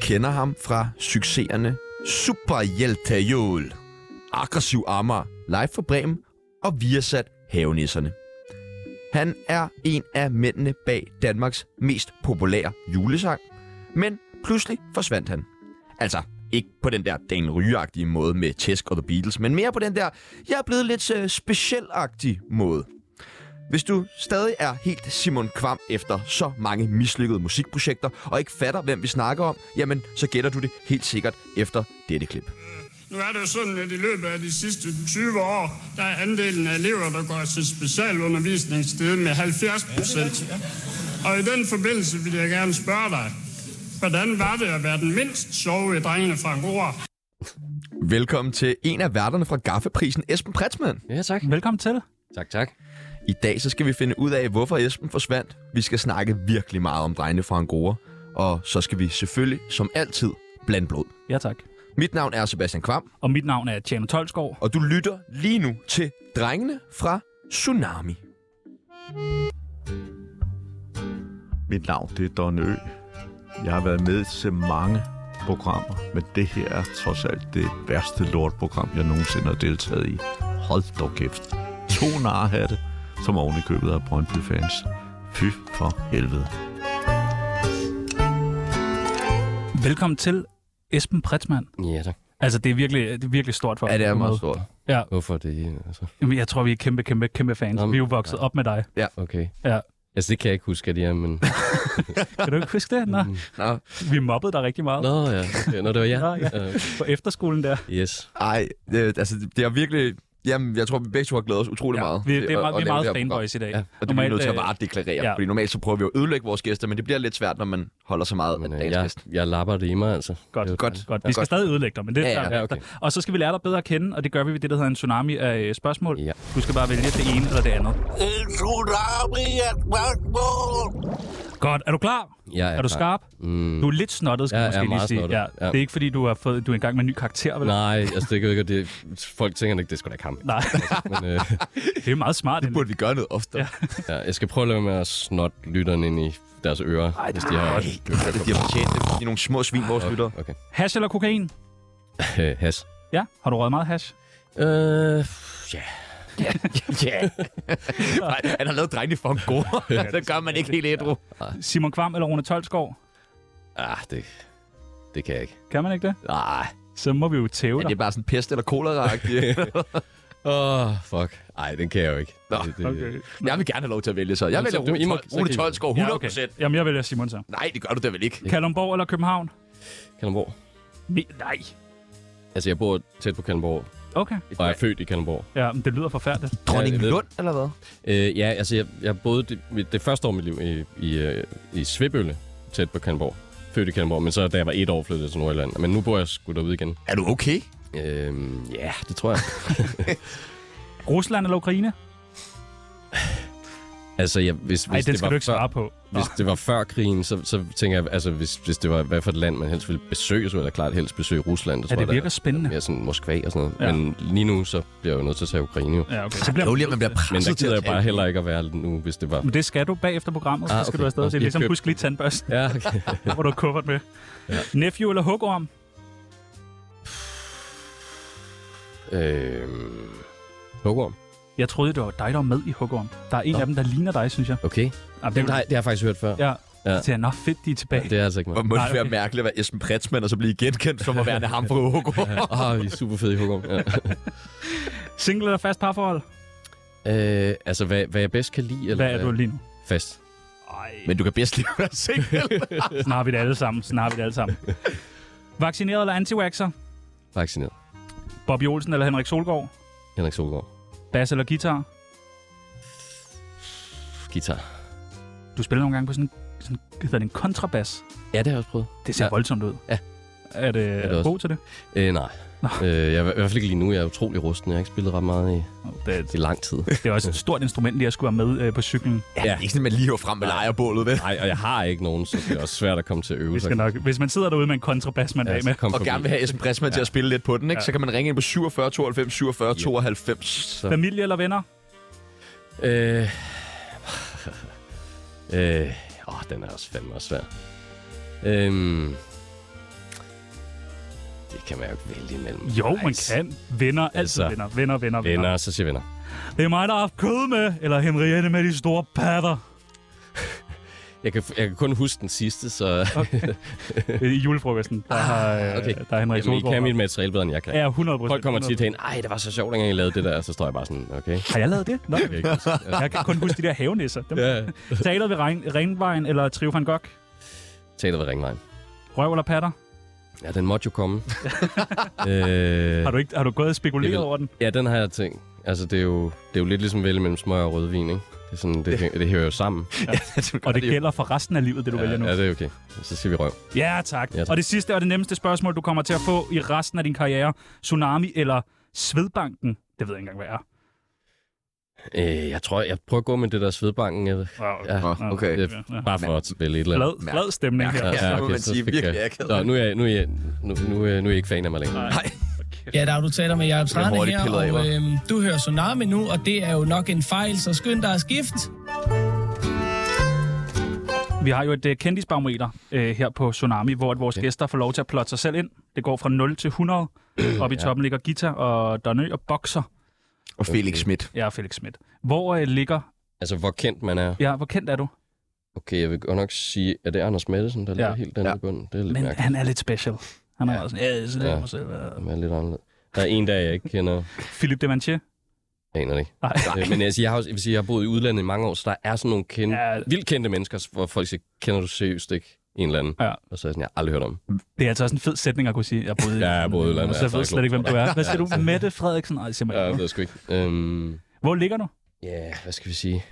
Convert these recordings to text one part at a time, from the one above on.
kender ham fra succeserne Superhjeltajol, Aggressiv Amager, Live for Bremen og Viasat Havenisserne. Han er en af mændene bag Danmarks mest populære julesang, men pludselig forsvandt han. Altså, ikke på den der Dan Ryge-agtige måde med Tæsk og The Beatles, men mere på den der, jeg er blevet lidt øh, specielagtig måde. Hvis du stadig er helt Simon Kvam efter så mange mislykkede musikprojekter, og ikke fatter, hvem vi snakker om, jamen så gætter du det helt sikkert efter dette klip. Nu er det jo sådan, at i løbet af de sidste 20 år, der er andelen af elever, der går til specialundervisning steget med 70 procent. Og i den forbindelse vil jeg gerne spørge dig, hvordan var det at være den mindst sjove i drengene fra Angora? Velkommen til en af værterne fra Gaffeprisen, Esben Pretzmann. Ja, tak. Velkommen til. Tak, tak. I dag så skal vi finde ud af, hvorfor Esben forsvandt. Vi skal snakke virkelig meget om drengene fra Angora, og så skal vi selvfølgelig, som altid, blande blod. Ja, tak. Mit navn er Sebastian Kvam, Og mit navn er Tjerno Tolskov. og du lytter lige nu til Drengene fra Tsunami. Mit navn det er Don Ø. Jeg har været med til mange programmer, men det her er trods alt det værste lortprogram, jeg nogensinde har deltaget i. Hold dog kæft. To narhatte, som oven i købet af Brøndby-fans. Fy for helvede. Velkommen til Esben Pretzmann. Ja, tak. Altså, det er virkelig, det er virkelig stort for os. Ja, det er på en meget måde. stort. Ja, Hvorfor det? Altså, Jamen, jeg tror, vi er kæmpe, kæmpe, kæmpe fans. Jamen, vi er jo vokset op med dig. okay. Ja. Altså, det kan jeg ikke huske, at det er, men... Kan du ikke huske det? Nå, Nå, vi mobbede dig rigtig meget Nå, ja. Okay. Nå, det var jeg. Nå, ja. Øh, på efterskolen der. yes. ej, det, altså, det er virkelig... Jamen, jeg tror, vi begge to har glædet os utrolig meget. Vi, det til er, at- meget, at vi er lave meget det her program. fanboys i dag. Ja, og Og det bliver vi nødt til at øh, bare deklarere, ja. ja. fordi normalt så prøver vi at ødelægge vores gæster, men det bliver lidt svært, når man holder så meget Men, af øh, dagens jeg, gæst. jeg lapper det i mig, altså. Godt, Godt. godt. Ja, Vi skal godt. stadig ødelægge dig, men det er Ja, ja, der- ja, okay. der- Og så skal vi lære dig bedre at kende, og det gør vi ved det, der hedder en tsunami af øh, spørgsmål. Ja. Du skal bare vælge det ene eller det andet. En tsunami af spørgsmål. Godt. Er du klar? Jeg er er du klar. skarp? Mm. Du er lidt snottet, skal Ja, jeg jeg måske er lige meget sige. snottet. Ja. Ja. Det er ikke, fordi du har fået, du er engang med en ny karakter, vel? Nej, altså, det kan jo ikke, og det... Folk tænker nok, det skulle da kamp. Nej. Men, øh, det er meget smart. Det burde vi gøre noget oftere. Ja. ja, jeg skal prøve at lade være med at snotte lytterne ind i deres ører, Ej, hvis de har... De har fortjent det. De er nogle små svin, vores lyttere. Okay. Hash eller kokain? Øh, Has. Ja, har du røget meget hash? Øh, ja. Ja. Nej, Han har lavet drengene for en god. det gør man ikke helt ædru. Simon Kvam eller Rune Tolsgaard? Ah, det... Det kan jeg ikke. Kan man ikke det? Nej. Så må vi jo Ja, tæve det dig. er bare sådan pest eller kolera Åh, oh, fuck. Ej, den kan jeg jo ikke. Nå, det, det, Okay. Jeg vil gerne have lov til at vælge, så. Jeg Jamen, vælger så- I må- så kan Rune I- Tolskov 100%. Ja, okay. Jamen, jeg vælger Simon så. Nej, det gør du da vel ikke. Kalundborg eller København? Kalundborg. Ne- nej. Altså, jeg bor tæt på Kalundborg, Okay. og jeg er født i Kalundborg. Ja, men det lyder forfærdeligt. Dronning jeg ved Lund, eller hvad? Øh, ja, altså, jeg, jeg boede det, mit- det første år af mit liv i, i, øh, i Svebølle, tæt på Kalundborg. Født i Kalundborg, men så da jeg var et år flyttede jeg til Nordjylland. Men nu bor jeg sgu derude igen. Er du okay? Øhm, Ja, øh, det tror jeg. Rusland eller Ukraine? altså, jeg, hvis, hvis Nej, den det var skal du ikke før, svare på. Nå. Hvis det var før krigen, så, så tænker jeg, altså, hvis, hvis det var hvad for et land, man helst ville besøge, så ville jeg klart helst besøge Rusland. Ja, tror det jeg, virker spændende. mere sådan Moskva og sådan noget. Ja. Ja. Men lige nu, så bliver jeg jo nødt til at tage Ukraine jo. Ja, okay. Så bliver Jo, lige, at man bliver presset Men der til gider jeg at bare tale. heller ikke at være nu, hvis det var... men det skal du bagefter programmet, så Ah, skal okay. du afsted. Nå, Det er jeg ligesom køb- husk lige tandbørsten, Ja, okay. ja. hvor du har kuffert med. Ja. Nephew eller hugorm? øhm, Hugorm. Jeg troede, det var dig, der var med i hugorm. Der er en Nå. af dem, der ligner dig, synes jeg. Okay. Jamen, Dem, der, har- det har jeg faktisk hørt før. Ja. Ja. ja. Så jeg, nå fedt, de er tilbage. Det er altså ikke mig. Hvor må Nej, det være okay. mærkeligt at være Esben Pretzmann og så blive genkendt som at være ham fra Hugo. Åh, oh, I er super fede i Hugorm. Ja. Single eller fast parforhold? øh, altså, hvad, hvad jeg bedst kan lide... Eller Hvad er du lige nu? Fast. Ej, Men du kan bedst lide at være single. sådan har vi det alle sammen. Sådan har vi det alle sammen. Vaccineret eller antivaxer? Vaccineret. Bobby Olsen eller Henrik Solgaard? Henrik Solgaard. Bass eller guitar? Guitar. Du spiller nogle gange på sådan, sådan hedder det en kontrabas. Ja, det har jeg også prøvet. Det ser ja. Ja. voldsomt ud. Ja. Er det, er det du også. god til det? Øh, nej. Øh, jeg, er i hvert fald ikke lige nu. Jeg er utrolig rusten. Jeg har ikke spillet ret meget i, Nå, Det, i lang tid. det er også et stort instrument, lige at skulle være med øh, på cyklen. Ja, det er ikke sådan, at man lige hører frem med lejerbålet, vel? Nej, og jeg har ikke nogen, så det er også svært at komme til at øve Vi skal nok, hvis man sidder derude med en kontrabas, man ja, af med. kom Og forbi. gerne vil have Esben Pressmann ja. til at spille lidt på den, ikke? Ja. Så kan man ringe ind på 47 92 47 92. Familie eller venner? Øh... øh... Åh, den er også fandme også svær. Øhm... Det kan man jo ikke vælge imellem. Jo, man Nice. kan. Venner, altid Altså, venner. Venner, venner, venner. Venner, så siger venner. Det er mig, der har haft kød med, eller Henriette med de store patter. Jeg kan, jeg kan kun huske den sidste, så I julefrokosten, der har, øh, Ah, okay. der er Henrik Jamen, I Solgaard. kan mit materiale bedre, end jeg kan. Ja, 100 procent. Folk kommer tit hen, ej, det var så sjovt, dengang jeg lavede det der, og så står jeg bare sådan, okay. Har jeg lavet det? Nå. Jeg kan ikke huske. Jeg kan kun huske de der havenisser. Dem. Ja. Teater ved Ren- Renvejen eller Trio van Gogh? Teater ved Ringvejen. Røv eller patter? Ja, den måtte jo komme. øh, Har du, ikke, har du gået og spekuleret Jeg vil- over den? ja, den har jeg tænkt. Altså, det er jo, det er jo lidt ligesom at vælge mellem smør og rødvin, ikke? Det, er sådan, det, det, det hører jo sammen. Og det gælder for resten af livet, det du Ja, vælger nu. ja, det er okay. Så siger vi røv. Ja tak. Ja, tak. Og det sidste og det nemmeste spørgsmål, du kommer til at få i resten af din karriere. Tsunami eller Svedbanken? Det ved jeg ikke engang, hvad er. Øh, jeg tror, jeg prøver at gå med det der svedbanken. Jeg, Wow. ja, Nå, okay. jeg, ja. bare for at spille et eller andet. Glad, glad stemning her. Ja, må man så sige, fik virkelig jeg- akavet. Nå, nu er jeg, nu er jeg, nu, nu, er- nu er jeg ikke fan af mig længere. Ja, der er du taler med Jacob er Trane hurtigt her, pillet af, og hva'? øhm, du hører Tsunami nu, og det er jo nok en fejl, så skynd dig at skifte. Vi har jo et uh, kendisbarometer øh, her på Tsunami, hvor at vores okay. gæster får lov til at plotte sig selv ind. Det går fra 0 til 100. Oppe i toppen ligger Gita og Donø og Boxer. Og Felix Schmidt. Ja, og Felix Schmidt. Hvor øh, ligger... Altså, hvor kendt man er. Ja, hvor kendt er du? Okay, jeg vil godt nok sige, at det er Anders Madsen, der ja. ligger helt den ja. i bunden. Det er lidt Men mærkeligt. han er lidt special. Han er ja. sådan, ja, så Ja. ja. mig selv. øh." Han er lidt anderledes. Der er en, der jeg ikke kender. Philip Demantier. Jeg aner det ikke. Nej. Øh, Men altså, jeg, har, også- jeg vil sige, jeg har boet i udlandet i mange år, så der er sådan nogle kende, Ja. ja. vildt kendte mennesker, hvor folk siger, kender du seriøst ikke en eller anden? Ja. Og så er jeg sådan, jeg har aldrig hørt om. Det er altså også en fed sætning at kunne sige. Jeg boede i Ja, jeg boede i udlandet, Og så ja, jeg ved tak, slet ikke, hvem du er. Hvad siger du? Ja. Mette Frederiksen? Nej, det siger man Ja, ikke. det ved jeg sgu ikke. Øhm, Hvor ligger du? Ja, yeah, hvad skal vi sige?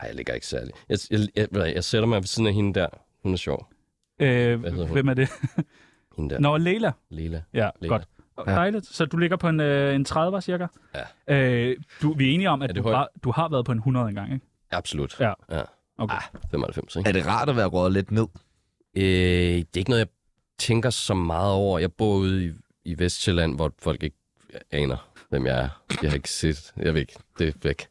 Ej, jeg ligger ikke særlig. Jeg, jeg, jeg, ved du hvad, jeg sætter mig ved siden af hende der. Hun er sjov. Øh, Hvad hedder hun? hvem er det? Hende der. Nå, Leila. Lela. Ja, Leila. godt. Dejligt. Så du ligger på en, øh, en 30'er cirka? Ja. Øh, du, vi er enige om, at Er du det højt? har, du har været på en 100 engang, ikke? Absolut. Ja. ja. Okay. 95, ikke? Er det rart at være røget lidt ned? Øh, det er ikke noget, jeg tænker så meget over. Jeg bor ude i, i Vestjylland, hvor folk ikke aner, hvem jeg er. Jeg har ikke set. Jeg ved ikke. Det er væk.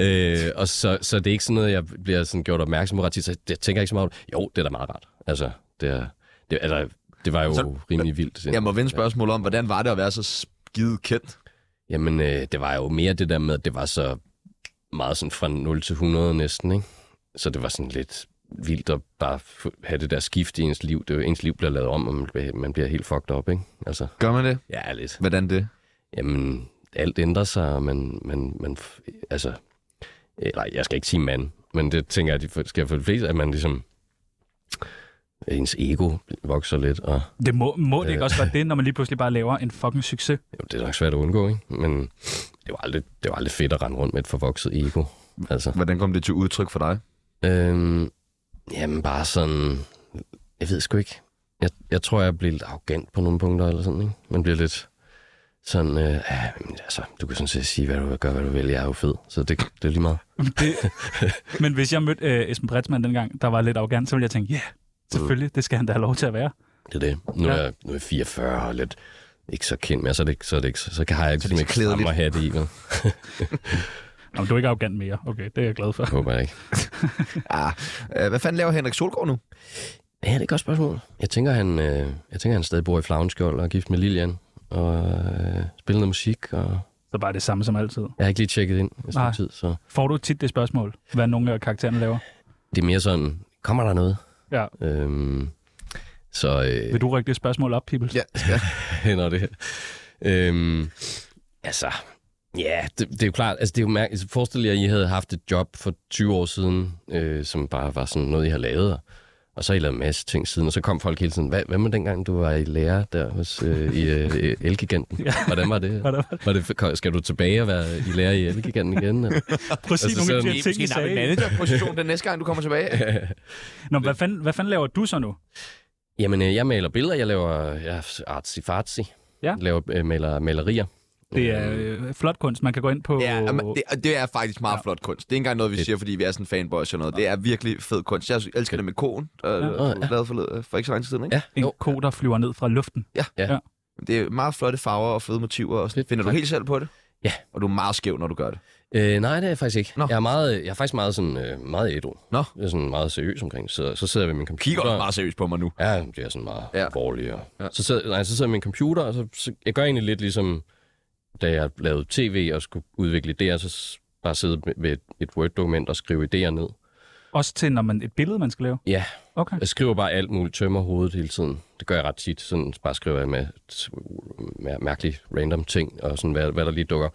øh, og så, så det er ikke sådan noget, jeg bliver sådan gjort opmærksom på ret tit. Så jeg tænker ikke så meget over det. Jo, det er da meget rart. Altså, det, er, det, altså, det var jo Så- så, rimelig vildt. Jeg må vende spørgsmålet om, hvordan var det at være så skide kendt? Jamen, øh, det var jo mere det der med, at det var så meget sådan fra 0 til 100 næsten, ikke? Så det var sådan lidt vildt at bare få- have det der skift i ens liv. Det, er jo- ens liv bliver lavet om, og man bliver, man bliver helt fucked up, ikke? Altså, Gør man det? ja, lidt. Hvordan det? Jamen, alt ændrer sig, og man, man, man f- altså, øh, nej, jeg skal ikke sige mand, men det tænker jeg, at det skal for de fleste, at man ligesom, ens ego vokser lidt, og Det må, må det ikke Øh. også godt det, når man lige pludselig bare laver en fucking succes? jo, det er nok svært at undgå, ikke? Men det var aldrig, det var aldrig fedt at rende rundt med et forvokset ego, altså. Hvordan kom det til udtryk for dig? Øhm, jamen bare sådan, jeg ved sgu ikke. Jeg, jeg tror, jeg bliver lidt arrogant på nogle punkter eller sådan, ikke? Man bliver lidt sådan, øh, ja, men altså, du kan sådan set sige, hvad du vil gøre, hvad du vil, jeg er jo fed, så det, det er lige meget. Det, men hvis jeg mødte øh, Esben Bretsmann dengang, der var lidt arrogant, så ville jeg tænke, ja, yeah, selvfølgelig, det skal han da have lov til at være. Det er det. Nu er, Ja. jeg, nu er jeg 44 og lidt ikke så kendt mere, så er det ikke, så er det ikke, så, så kan jeg ikke, Så det er så så klædeligt. ikke at have det i, vel? Nå, men du er ikke arrogant mere. Okay, det er jeg glad for. Håber jeg ikke. Ah, øh, hvad fanden laver Henrik Solgaard nu? Ja, det er et godt spørgsmål. Jeg tænker, han, øh, jeg tænker, han stadig bor i Flavenskjold og er gift med Lilian og øh, spiller noget musik, og Så bare det samme som altid. jeg har ikke lige tjekket ind i Nej. sådan tid, så... Får du tit det spørgsmål, hvad nogle af karaktererne laver? det er mere sådan, kommer der noget? Ja. Øhm, så øh, Vil du række det spørgsmål op, Pibels? Ja, ja. hænder det. Øhm, altså, ja, det, det, er jo klart. Altså, det er jo mærkeligt. Forestil jer, at I havde haft et job for 20 år siden, øh, som bare var sådan noget, I har lavet. og- Og så har I lavet en masse ting siden, og så kom folk hele tiden. Hvad, hvad med dengang, du var i lærer der hos øh, i, øh, Elgiganten? Ja. Hvordan var det? Hvordan var det? Skal du tilbage og være i lærer i Elgiganten igen? Eller? Præcis Altså, altså, nogle af sådan- de her ting, I sagde. managerposition den næste gang, du kommer tilbage. Nå, hvad fanden, hvad fanden laver du så nu? Jamen, øh, jeg maler billeder, jeg laver ja, artsy-fartsy. Ja. Laver, øh, maler malerier. Det er øh, flot kunst. Man kan gå ind på... Ja, jamen, det, og det er faktisk meget ja. flot kunst. Det er ikke engang noget, vi siger, fordi vi er sådan fanboys og noget. Det er virkelig fed kunst. Jeg elsker det med konen, der ja. Ja. lavede for, for ikke så lang tid siden. Ikke? Ja, en jo. ko, der flyver ned fra luften. Ja. Det er meget flotte farver og fede motiver. Og sådan. Fedt, Finder du tak. helt selv på det? Ja. Og du er meget skæv, når du gør det. Øh, nej, det er jeg faktisk ikke. Nå. Jeg, er meget, jeg er faktisk meget, sådan, øh, meget ædru. Nå. Jeg er sådan meget seriøs omkring det. Så, så sidder jeg ved min computer. Kigger også meget seriøst på mig nu. Ja, det er sådan meget Ja. ja. alvorligt. Og... Ja. Ja. Så, sidder, nej, så sidder jeg med min computer, og så, så, jeg gør egentlig lidt ligesom, da jeg lavede tv og skulle udvikle idéer, så s- bare sidde med- ved et, et Word-dokument og skrive idéer ned. Også til, når man et billede, man skal lave. Ja, Okay. jeg skriver bare alt muligt, tømmer hovedet hele tiden. Det gør jeg ret tit. Sådan bare skriver jeg med, t- mær- mærkelige random ting, og sådan, hvad, hvad der lige dukker.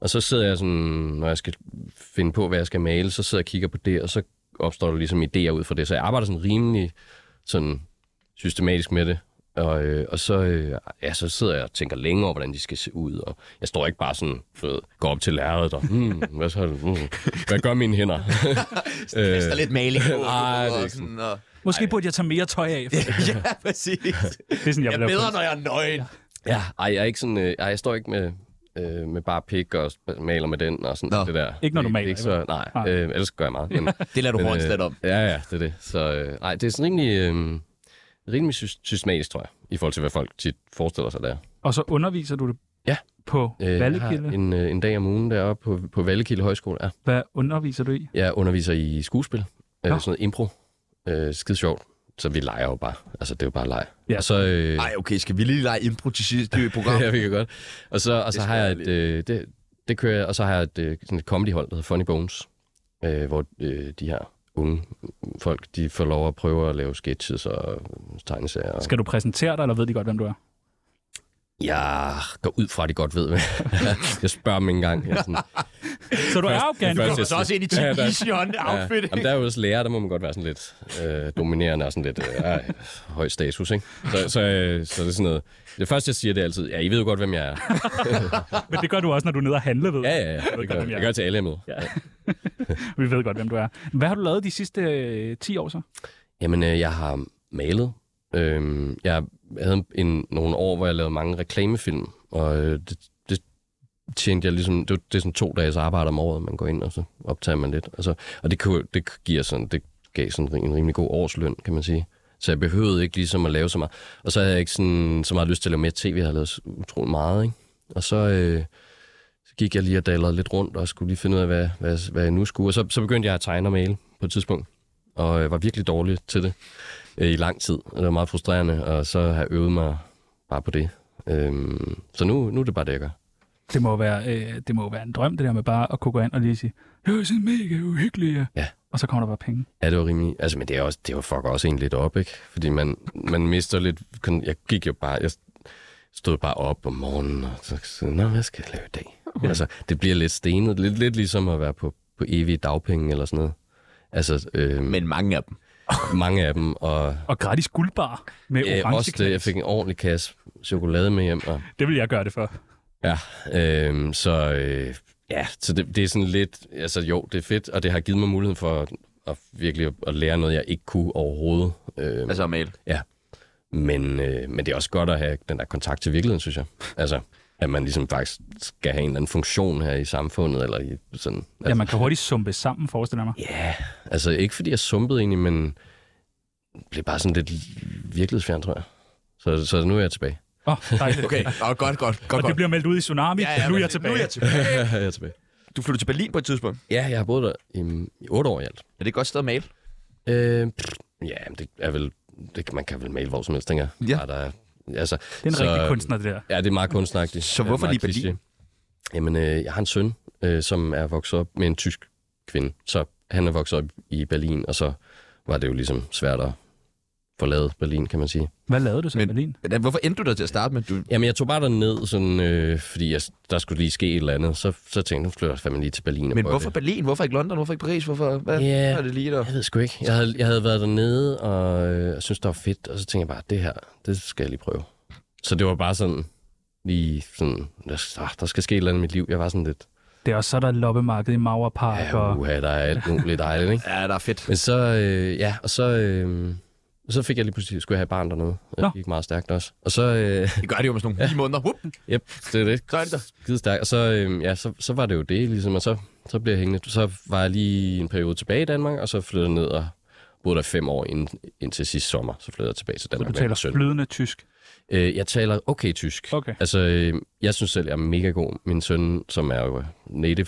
Og så sidder jeg sådan, når jeg skal finde på, hvad jeg skal male, så sidder jeg og kigger på det, og så opstår der ligesom idéer ud fra det. Så jeg arbejder sådan rimelig sådan systematisk med det. Og, øh, og så, øh, ja, så sidder jeg og tænker længe over, hvordan de skal se ud. Og jeg står ikke bare sådan, du ved, går op til lærredet og, hmm, hvad, så, hmm, hvad gør mine hænder? øh, Der er lidt maling på. Nej, det er og ikke sådan, og... Måske burde jeg tage mere tøj af. Det Ja, præcis. er sådan, jeg, Jeg vil lave bedre, kunst. når jeg er nøgen. Ja, ej, jeg, er ikke sådan, øh, ej, jeg står ikke med, øh, med bare pik og sp- maler med den og sådan Nå. Nå. det der. Ikke når du Det- det er maler, Ikke så, nej, Nej. øh, ellers gør jeg meget. Men, Det lader du men, øh, hårdt slet om. Ja, ja, det er det. Så øh, nej, det er sådan rimelig, øh, rimelig sy- systematisk, tror jeg, i forhold til, hvad folk tit forestiller sig der. Og så underviser du det Ja. på øh, Vallekilde. Jeg har en, øh, en dag om ugen deroppe på, på Vallekilde Højskole. Ja, Hvad underviser du i? jeg underviser i skuespil, øh, Nå. sådan noget impro. Øh, skide sjovt. Så vi leger jo bare. Altså, det er jo bare leg. Ja. Og så, øh, Nej, okay, skal vi lige lege impro til sidste i program? ja, vi kan godt. Og så, og så Det har skal jeg jeg et, øh, det, det kører jeg, og så har jeg et, øh, sådan et comedyhold, der hedder Funny Bones, øh, hvor øh, de her unge folk, de får lov at prøve at lave sketches og tegneserier. Og... Skal du præsentere dig, eller ved de godt, hvem du er? Jeg går ud fra, at de godt ved, hvad jeg spørger dem ikke engang. Jeg er sådan, Så du er Først- afghan. først- Og så også ind i Ja, Team der- Vision outfit. Ja, jamen, der er jo også lærer, der må man godt være sådan lidt øh, dominerende og sådan lidt øh, øh, høj status, ikke? Så, så, øh, så det er sådan noget... Det første, jeg siger, det er altid, ja, I ved jo godt, hvem jeg er. Men det gør du også, når du er nede og handler, ved Ja, jeg. ja, ja. Det gør, jeg. jeg gør det til alle med. Ja. Vi ved godt, hvem du er. Hvad har du lavet de sidste øh, 10 år så? Jamen, øh, jeg har malet. Øhm, jeg havde en, nogle år, hvor jeg lavede mange reklamefilm, og øh, det, det tjente jeg ligesom... Det, var- det er sådan to dages arbejde om året, man går ind, og så optager man lidt. Og, så, og det, kunne, det, giver sådan, det gav sådan en rimelig god årsløn, kan man sige. Så jeg behøvede ikke ligesom at lave så meget. Og så havde jeg ikke sådan, så meget lyst til at lave mere tv. Jeg har lavet utrolig meget, ikke? Og så, øh, så gik jeg lige og dallede lidt rundt, og skulle lige finde ud af, hvad, hvad, hvad jeg nu skulle. Og så, så begyndte jeg at tegne og male på et tidspunkt og øh, var virkelig dårlig til det øh, i lang tid. Og det var meget frustrerende, og så har jeg øvet mig bare på det. Øhm, så nu, nu er det bare det, jeg gør. Det må, være, øh, det må være en drøm, det der med bare at kunne gå ind og lige sige, jeg er sådan mega uhyggelig. ja." Ja. Og så kommer der bare penge. Ja, det var rimelig... Altså, men det er også, det var fuck også en lidt op, ikke? Fordi man, man mister lidt... kon- Jeg gik jo bare... Jeg stod bare op om morgenen, og så sagde, Nå, hvad skal jeg lave i dag? Okay. Altså, det bliver lidt stenet. Lidt, lidt ligesom at være på, på evige dagpenge eller sådan noget. Altså, øh, men... Men mange af dem. mange af dem, og... Og gratis guldbar med Ja, orange Øh, også det, jeg fik en ordentlig kasse chokolade med hjem, og det vil jeg gøre det for. Ja, øhm, så, øh, ja, så det, det er sådan lidt, altså jo, det er fedt, og det har givet mig muligheden for at, at virkelig at, at lære noget, jeg ikke kunne overhovedet. Øhm, altså. Altså at male. men, øh, men det er også godt at have den der kontakt til virkeligheden, synes jeg. Altså, at man ligesom faktisk skal have en eller anden funktion her i samfundet, eller i sådan... Ja, Altså, man kan hurtigt sumpe sammen, forestiller jeg mig. ja, altså ikke fordi jeg sumpede egentlig, men blev bare sådan lidt virkelighedsfjern, tror jeg. Så, så nu er jeg tilbage. Åh, oh, dejligt. Okay, oh, godt, godt, Og godt, det godt. bliver meldt ud i Tsunami. Ja, ja, nu er jeg tilbage. Nu er jeg tilbage. jeg er tilbage. Du flyttede til Berlin på et tidspunkt. Ja, jeg har boet der i, i otte år i alt. Er det et godt sted at male? Øh, pff, ja, men det er vel... Det, man kan vel male hvor som helst, tænker jeg. Ja. Bare Der, er- altså, Det er en så, rigtig kunstner, det der. Ja, det er meget kunstnagtigt. Så Ja, hvorfor meget lige Berlin? kliché. Jamen, øh, jeg har en søn, øh, som er vokset op med en tysk kvinde. Så han er vokset op i Berlin, og så var det jo ligesom svært at forlade Berlin, kan man sige. Hvad lavede du så i Men- Berlin? Hvordan- Hvorfor endte du der til at starte med? Du, Jamen, jeg tog bare derned, sådan, øh, fordi jeg, der skulle lige ske et eller andet. Så, så tænkte jeg, nu flytter jeg fandme lige til Berlin. og men prøver hvorfor det. Berlin? Hvorfor ikke London? Hvorfor ikke Paris? Hvorfor hvad Ja. er det lige der? Jeg ved sgu ikke. Jeg havde, jeg havde været dernede, og øh, jeg synes, det var fedt. Og så tænkte jeg bare, det her, det skal jeg lige prøve. Så det var bare sådan, lige sådan, der, skal- ah, der skal ske et eller andet i mit liv. Jeg var sådan lidt, Det er også så, der er loppemarked i Mauerpark. ja, Og... uha, der er alt muligt dejligt, ikke? Ja, der er fedt. Men så, øh, ja, og så, øh, så fik jeg lige pludselig, skulle jeg have et barn dernede. Nå. Det gik meget stærkt også. Og så, øh, Det gør det jo med sådan nogle 9 måneder. Whoop. Yep, det er det. Så er det der. Skide stærkt. Og så, øhm, ja, så, så var det jo det, ligesom, og så, så blev jeg hængende. Så var jeg lige en periode tilbage i Danmark, og så flyttede jeg ned og boede der fem år ind, indtil sidste sommer. Så flyttede jeg tilbage til Så Danmark du taler min søn. flydende tysk. Øh, jeg taler okay tysk. Okay. Altså, øh, jeg synes selv, jeg er mega god. Min søn, som er jo native,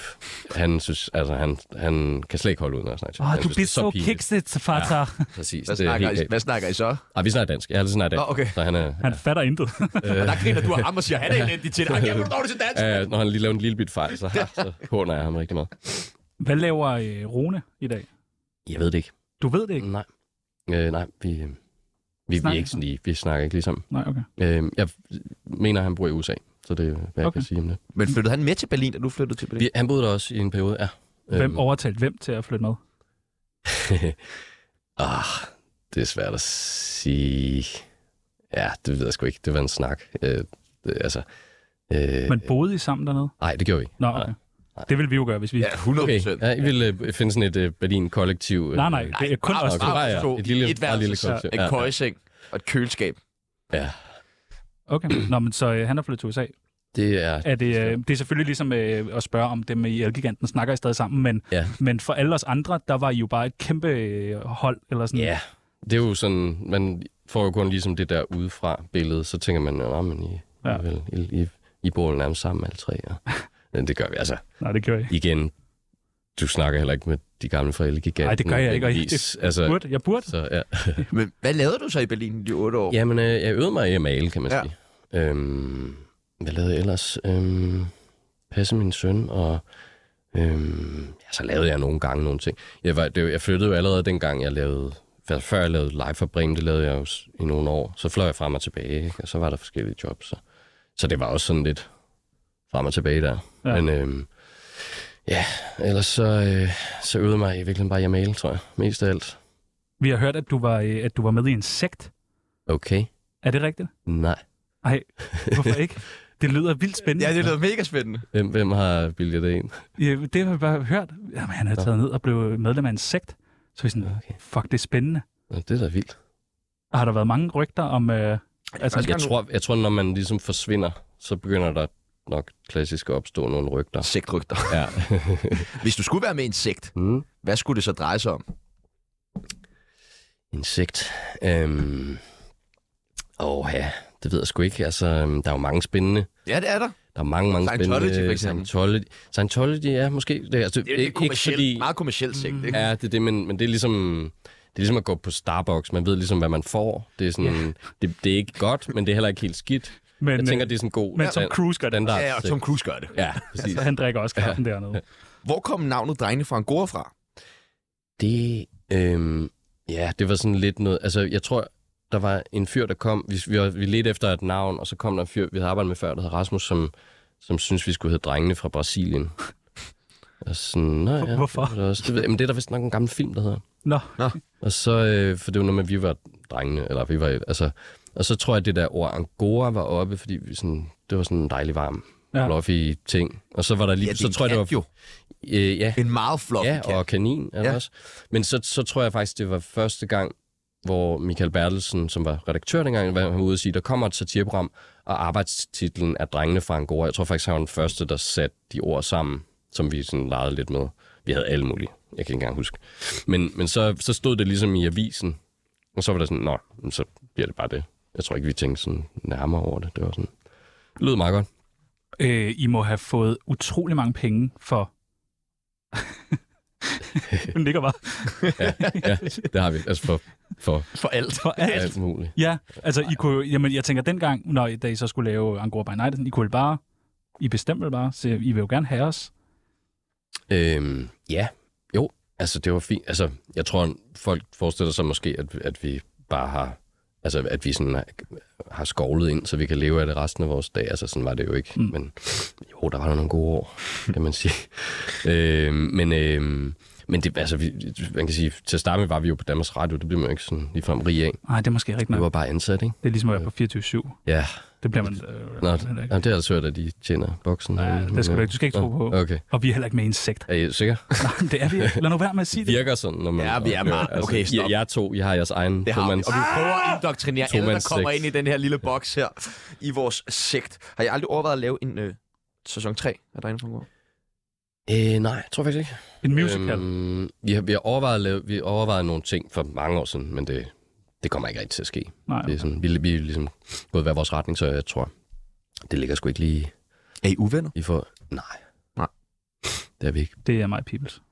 han synes, altså, han, han kan slet ikke holde uden at snakke tysk. Åh, Han du synes, bliver det så er pinligt. kikset, fatter. Ja. Præcis. Hvad det er snakker, helt I, galt. hvad snakker I så? Ah, vi snakker dansk. Jeg er lidt snart dansk. Nå, okay. Så han er, Han fatter intet. Og der griner du af ham og siger, han er elendig til dig. Ej, kæft, hvor dårlig til dansk. øh, når han lige laver en lille bit fejl, så, så håner jeg ham rigtig meget. Hvad laver øh, Rune i dag? Jeg ved det ikke. Du ved det ikke? Nej. Øh, nej, vi, vi, vi, er Snakker ikke sådan lige, vi snakker ikke lige sammen. Nej, okay. Øh, jeg mener, han bor i USA, så det er, hvad okay. jeg Okay. kan sige om det. Men flyttede han med til Berlin, da du flyttede til Berlin? Vi, han boede der også i en periode, ja. Hvem Øhm, overtalte hvem til at flytte med? ah, det er svært at sige. Ja, det ved jeg sgu ikke. Det var en snak. Øh, det, altså, øh, Men boede I sammen dernede? nej, det gjorde vi ikke. Nå, okay. Det ville vi jo gøre, hvis vi... Ja, 100 Okay, procent. ja, I ville øh, finde sådan et øh, Berlin-kollektiv. Øh, Nej, nej, det er kun bare- bare- os. to. bare, ja, to. et lille, I et bare et lille værelse, kollektiv. En køjeseng og et køleskab. ja, Okay, Nå, men så øh, han er flyttet til USA. det er... Er det, øh, det er selvfølgelig ligesom øh, at spørge, om dem i Elgiganten snakker i stadig sammen, men, Ja. men for alle os andre, der var I jo bare et kæmpe øh, hold, eller sådan. Ja, det er jo sådan, man får jo kun ligesom det der udefra billede, så tænker man, nej, men I, Ja. ja. vel, I, I, I bor jo nærmest sammen alle tre. Og, men det gør vi altså. Nej, det gør jeg ikke. Igen, du snakker heller ikke med de gamle forældre giganter. Nej, det gør jeg ikke, og jeg, det, altså, altså, burde, jeg burde. så, ja. Men hvad lavede du så i Berlin i de otte år? Jamen, øh, jeg øvede mig i at male, kan man Ja. ja. sige. Øhm, hvad lavede jeg ellers? Øhm, passe min søn, og øhm, ja, så lavede jeg nogle gange nogle ting. Jeg, var, det, var- jeg flyttede jo allerede dengang, jeg lavede... før- Før jeg lavede live for Bremen, det lavede jeg jo s- i nogle år. Så fløj jeg frem og tilbage, ikke? og så var der forskellige jobs. Så, så det var også sådan lidt frem og tilbage der. Ja. Ja. Men øhm, ja, ellers så, øh, så øvede jeg mig i virkeligheden bare i at male, tror jeg. Mest af alt. Vi har hørt, at du var, øh, at du var med i en sekt. Okay. Er det rigtigt? Nej. Nej, hvorfor ikke? Det lyder vildt spændende. Ja, det lyder mega spændende. Hvem, hvem har bildet det ind? Ja, det har vi bare hørt. Jamen, han er taget ned og blev medlem af en sekt. Så vi er sådan, okay. Okay. fuck, det er spændende. Nå, Det er da vildt. Og har der været mange rygter om... Øh, altså, Jeg tror, jeg tror, når man ligesom forsvinder, så begynder der nok klassisk at opstå nogle rygter. Sektrygter. Ja. Hvis du skulle være med i en sekt, mm. hvad skulle det så dreje sig om? Insekt. Øhm. Åh ja, det ved jeg sgu ikke. Altså, øhm, der er jo mange spændende. Ja, det er der. Der er mange, mange Scientology, spændende. øh, for eksempel. Scientology, Scientology, ja, måske. Det, er- altså, Det er jo ikke, ikke kommerciel, fordi... meget kommerciel sekt, ikke? Ja, det er det, men, men det er ligesom... Det er ligesom at gå på Starbucks. Man ved ligesom, hvad man får. Det er, sådan, det, det er ikke godt, men det er heller ikke helt skidt. Men, Men, jeg tænker, øh, det er sådan en god men Tom stand- Cruise gør det. standard. Ja, og Tom Cruise Altså, gør det. Ja, præcis. så han drikker også kaffen dernede. Hvor kom navnet Drengene fra Angora fra? Det, øhm, ja, det var sådan lidt noget... Altså, jeg tror, der var en fyr, der kom... Vi, vi, var- vi ledte efter et navn, og så kom der en fyr, vi havde arbejdet med før, der hed Rasmus, som, som synes vi skulle hedde Drengene fra Brasilien. Og sådan, Nå, ja, Hvorfor? Det, var der også, det, ved jeg- men det er der vist nok en gammel film, der hedder. Nå, Og så, øh, for det var noget med, at vi var drengene, eller vi var, altså, og så tror jeg, at det der ord Angora var oppe, fordi vi sådan, det var sådan en dejlig varm, Ja. ja. fluffy ting. Og så var der lige, Ja, det er så en tror jeg, kat det var, øh, ja, En meget flot ja, kat. og kanin er Ja. ja. også. Men så, så tror jeg faktisk, det var første gang, hvor Michael Bertelsen, som var redaktør dengang, var ude og sige, der kommer et satireprogram, og arbejdstitlen er Drengene fra Angora. Jeg tror faktisk, han var den første, der satte de ord sammen, som vi sådan legede lidt med. Vi havde alle mulige. Jeg kan ikke engang huske. Men, men så, så stod det ligesom i avisen, og så var der sådan, nå, men så bliver det bare det. Jeg tror ikke, vi tænkte sådan nærmere over det. Det var sådan, det lød meget godt. øh, I må have fået utrolig mange penge for... Hun ligger bare Ja, det har vi. Altså for, for For alt. for alt. alt muligt. Ja, altså I kunne, jamen, jeg tænker dengang, når I, da I så skulle lave Angora by Night, I kunne jo bare, I bestemte vel bare, så I vil jo gerne have os. Øhm, ja, jo, altså det var fint. Altså, jeg tror, folk forestiller sig måske, at, at vi bare har, altså at vi sådan har, har skovlet ind, så vi kan leve af det resten af vores dag. Altså sådan var det jo ikke, mm. men jo, der var der nogle gode år, kan man sige. øhm, men øhm, men det, altså, vi, man kan sige, til at starte med var vi jo på Danmarks Radio, det blev man jo ikke sådan ligefrem rig af. Nej, det er måske rigtigt Vi nok. var bare ansat, ikke? Det er ligesom at være på 24-7. Ja, Det bliver man... Øh, Nå, Nå, jamen, det har jeg altså hørt, at de tjener boksen. Øh, Ja, det skal du ikke. Du skal ikke tro Nå, på. Okay. og vi er heller ikke med i en sekt. Er I sikker? Nej, det er vi ikke. Lad nu være med at sige det. virker sådan, når man... altså, Ja, vi er meget- okay, stop. Jeg, jeg to, I har jeres egen. Det har vi. tomands- Og vi prøver at indoktrinere alle, der Tomands kommer sekt. ind i den her lille boks her i vores sekt. Har jeg aldrig overvejet at lave en øh, sæson 3 af Drengene fra Angora? Øh, nej, jeg tror faktisk ikke. En musical. Øhm, Øhm, vi, har, vi, har overvejet at lave, vi har overvejet nogle ting for mange år siden, men det det kommer ikke rigtig til at ske. Nej. Det er sådan, vi, vi er ligesom gået hver vores retning, så jeg tror, det ligger sgu ikke lige Er I uvenner? i for... Nej. Nej. Det er vi ikke. Det er mig, peoples.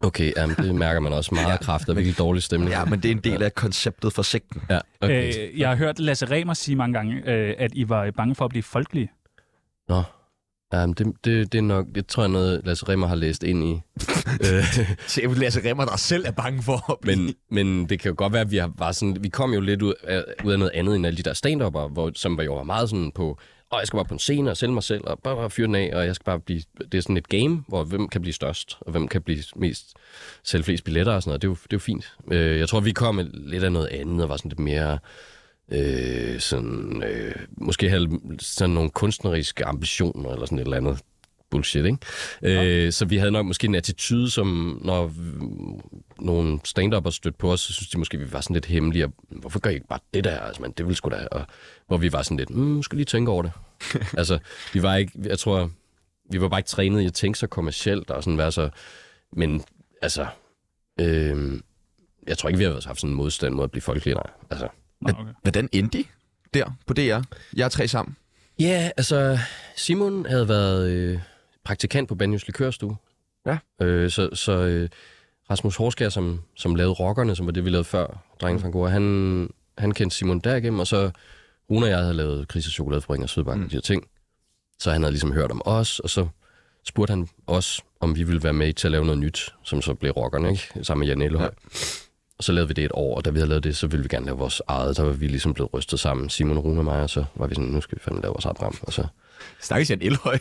Okay, jamen, det mærker man også meget kraft og virkelig dårlig stemning. Ja, men det er en del af konceptet for sekten. ja okay. Okay. Øh, jeg har hørt Lasse Remer sige mange gange, øh, at I var bange for at blive folkelige. Nå. Jamen, det, det, det er nok, det tror jeg noget, Lasse Remmer har læst ind i. Øh, Se, at Lasse Remmer, der selv er bange for at blive... men, men det kan jo godt være, at vi, har, var sådan, vi kom jo lidt ud af, ud af noget andet end alle de der stand hvor, som var jo var meget sådan på, og jeg skal bare på en scene og sælge mig selv, og bare, bare fyre den af, og jeg skal bare blive... Det er sådan et game, hvor hvem kan blive størst, og hvem kan blive mest... Sælge flest billetter og sådan noget, det er jo, det er jo fint. Øh, jeg tror, vi kom lidt af noget andet, og var sådan lidt mere... Øh, sådan, øh, måske have sådan nogle kunstneriske ambitioner, eller sådan et eller andet bullshit, ikke? Øh, så vi havde nok måske en attitude, som når v- nogle stand upere stødte på os, så synes de måske, vi var sådan lidt hemmelige, og hvorfor gør I ikke bare det der? Altså, man, det ville sgu da... Og, hvor vi var sådan lidt, mm, skal lige tænke over det. altså, vi var ikke... Jeg tror, vi var bare ikke trænet i at tænke så kommercielt og sådan være så... Men altså... Øh, jeg tror ikke, vi har haft sådan en modstand mod at blive folkelige, nej. Altså, Nå, okay. Hvordan endte I der på DR? Jeg er tre sammen. Ja, yeah, altså Simon havde været øh, praktikant på Banjos Likørstue. Ja. Øh, så så øh, Rasmus Horskær, som, som lavede Rockerne, som var det, vi lavede før, Drengen fra Angora, han, han kendte Simon derigennem, og så Rune og jeg havde lavet Kris og Chokoladefabrik og Sydbank mm. og de her ting. Så han havde ligesom hørt om os, og så spurgte han os, om vi ville være med til at lave noget nyt, som så blev Rockerne, ikke? sammen med Jan Elhøj. Ja. Og så lavede vi det et år, og da vi havde lavet det, så ville vi gerne lave vores eget. Der var vi ligesom blevet rystet sammen, Simon, Rune og mig, og så var vi sådan, nu skal vi fandme lave vores eget program. Og så... Snakkes Jan Elhøj.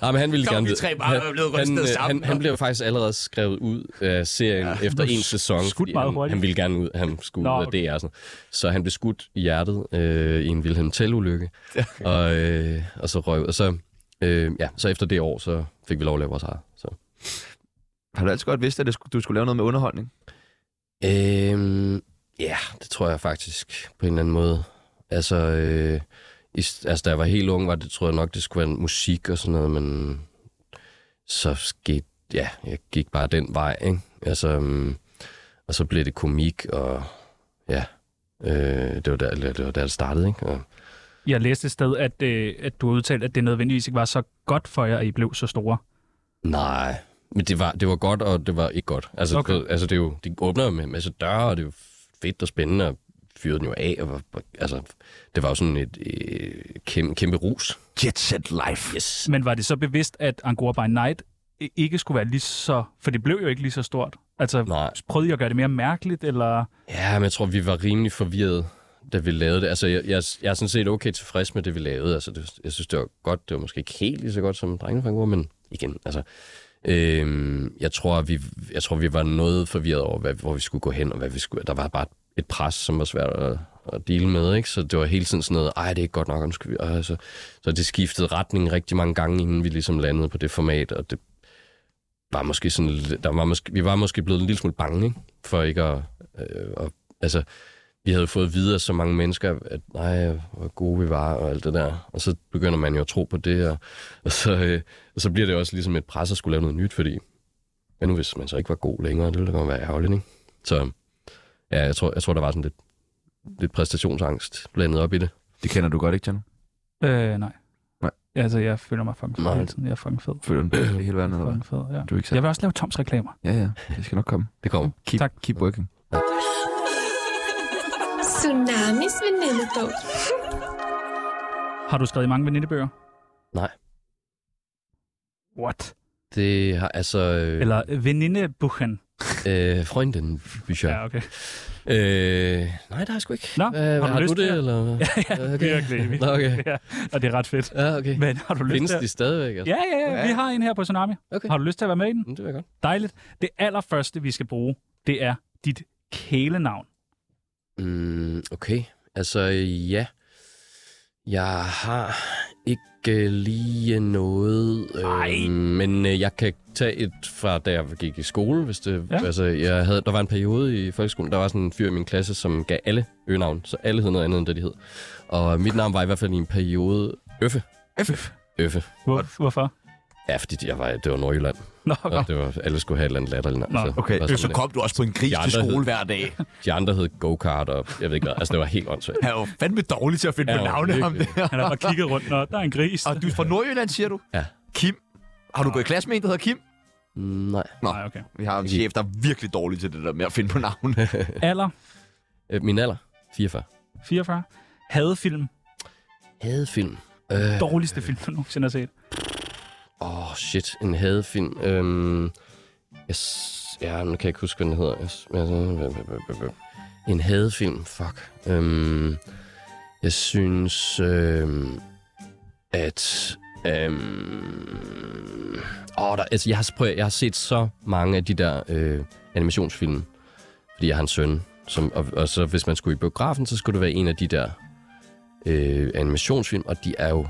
Nej, men han ville Så var gerne... vi tre bare han, blevet han, rystet øh, sammen. Han, han blev faktisk allerede skrevet ud af serien ja, efter blev en sæson, skudt fordi meget han, hurtigt. han ville gerne ud, han skulle Nå, ud af okay. DR. og Sådan. Så han blev skudt i hjertet øh, i en Wilhelm Tell-ulykke, og, øh, og så røg ud. Og så, øh, ja, så efter det år, så fik vi lov at lave vores eget. Så. Har du altid godt vidst, at det skulle- du skulle lave noget med underholdning? Øhm, ja, det tror jeg faktisk på en eller anden måde. Altså, øh, i, s- altså da jeg var helt ung, var det, tror jeg nok, det skulle være musik og sådan noget, men så skete, ja, jeg gik bare den vej, ikke? Altså, øhm, og så blev det komik, og ja, øh, det, var der, eller det var der, det startede, ikke? Og, Jeg læste et sted, at, øh, at du udtalte, at det nødvendigvis ikke var så godt for jer, at I blev så store. nej, men det var, det var godt, og det var ikke godt. Altså, Okay. okay. altså det, er jo, det åbner jo med en masse døre, og det er jo fedt og spændende, og fyrede den jo af, og var, altså, det var jo sådan et øh, kæmpe, kæmpe rus. Jet Set Life. Yes. Men var det så bevidst, at Angora by Night i- ikke skulle være lige så... For det blev jo ikke lige så stort. Altså, Nej. prøvede I at gøre det mere mærkeligt, eller... Ja, men jeg tror, vi var rimelig forvirret, da vi lavede det. Altså, jeg, jeg, jeg er sådan set okay tilfreds med det, vi lavede. Altså, det, jeg synes, det var godt. Det var måske ikke helt lige så godt som drengene fra Angora, men igen, altså... Øhm, jeg, tror, vi, jeg tror, vi var noget forvirret over, hvad, hvor vi skulle gå hen, og hvad vi skulle... Der var bare et pres, som var svært at, at dele med, ikke? Så det var hele tiden sådan noget, ej, det er ikke godt nok, undskyld. Og så, så det skiftede retning rigtig mange gange, inden vi ligesom landede på det format, og det var måske sådan, lidt- der var måske, vi var måske blevet en lille smule bange, ikke? For ikke at, øh, at altså, vi havde fået videre så mange mennesker, at nej, hvor gode vi var, og alt det der. Og så begynder man jo at tro på det, og, og, så, øh, og så bliver det også ligesom et pres at skulle lave noget nyt, fordi hvad nu hvis man så ikke var god længere, det ville da godt være ærgerligt, ikke? Så ja, jeg tror, jeg tror der var sådan lidt, lidt præstationsangst blandet op i det. Det kender du godt, ikke, Jan? Øh, nej. Nej. Altså, jeg føler mig fucking fed Nej. hele tiden. Jeg er fucking fed. Føler du det hele verden, eller hvad? Fucking fed, ja. Du er ikke selv. Jeg vil også lave Toms reklamer. Ja, ja. Det skal nok komme. Det kommer. Keep, Tak. keep working. Tsunamis venindebog. Har du skrevet i mange venindebøger? Nej. What? Det har altså... Øh, Eller øh, venindebuchen. øh, Freunden, Bücher. Ja, okay. Øh, nej, der er sgu ikke. Nå, Hvad- har du har lyst du det, til det? eller? Ja, virkelig, virkelig. Nå, okay. Ja, og det er ret fedt. Ja, okay. Men har du lyst Findes til at... de stadigvæk? Altså? Ja, ja, ja, vi har en her på Tsunami. Okay. Har du lyst til at være med i den? Mm, Det vil jeg godt. Dejligt. Det allerførste, vi skal bruge, det er dit kælenavn. Mm, okay. Altså, ja. Jeg har ikke øh, lige noget, øh, Ej. men øh, jeg kan tage et fra, da jeg gik i skole. Hvis det, Ja. ja. altså, jeg havde, der var en periode i folkeskolen, der var sådan en fyr i min klasse, som gav alle øgenavn, så alle hed noget andet, end det de hed. Og mit navn var i hvert fald i en periode Øffe. Øffe. Øffe. Hvor, hvorfor? Ja, fordi de- jeg var, det var Nordjylland, Nå, og det var, alle skulle have et eller andet latterligt navn. Nå, så- okay. var Øh, Så sådan, kom du også på en gris til De andre hed- skole hver dag. De andre hed go-kart, og jeg ved ikke hvad. Altså, det var helt åndssvagt. Han er jo fandme dårlig til at finde Ja, på navne virkelig. ham der. han har bare kigget rundt, og der er en gris. Ah, Og du er fra Nordjylland, siger du? Ja. Kim. Har du gået i klasse med en, der hedder Kim? Nej. Nej, okay. Vi har en chef, der er virkelig dårlig til det der med at finde på navne. Alder, Øh, Min alder? 44. 44. Hadefilm. Hadefilm. Øh, Dårligste film, du nogensinde har set. Åh, oh, shit. En hadefilm. Øhm, jeg, s- ja, nu kan jeg ikke huske, hvad den hedder. Jeg, s- jeg, jeg- jeg- jeg- jeg- en hadefilm. Fuck. Øhm, jeg synes, øhm, at... Øhm, åh, der, altså, jeg, har, prøv, at- jeg har set så mange af de der øh, animationsfilm, fordi jeg har en søn. Som, og, og så hvis man skulle i biografen, så skulle det være en af de der øh, animationsfilm, og de er jo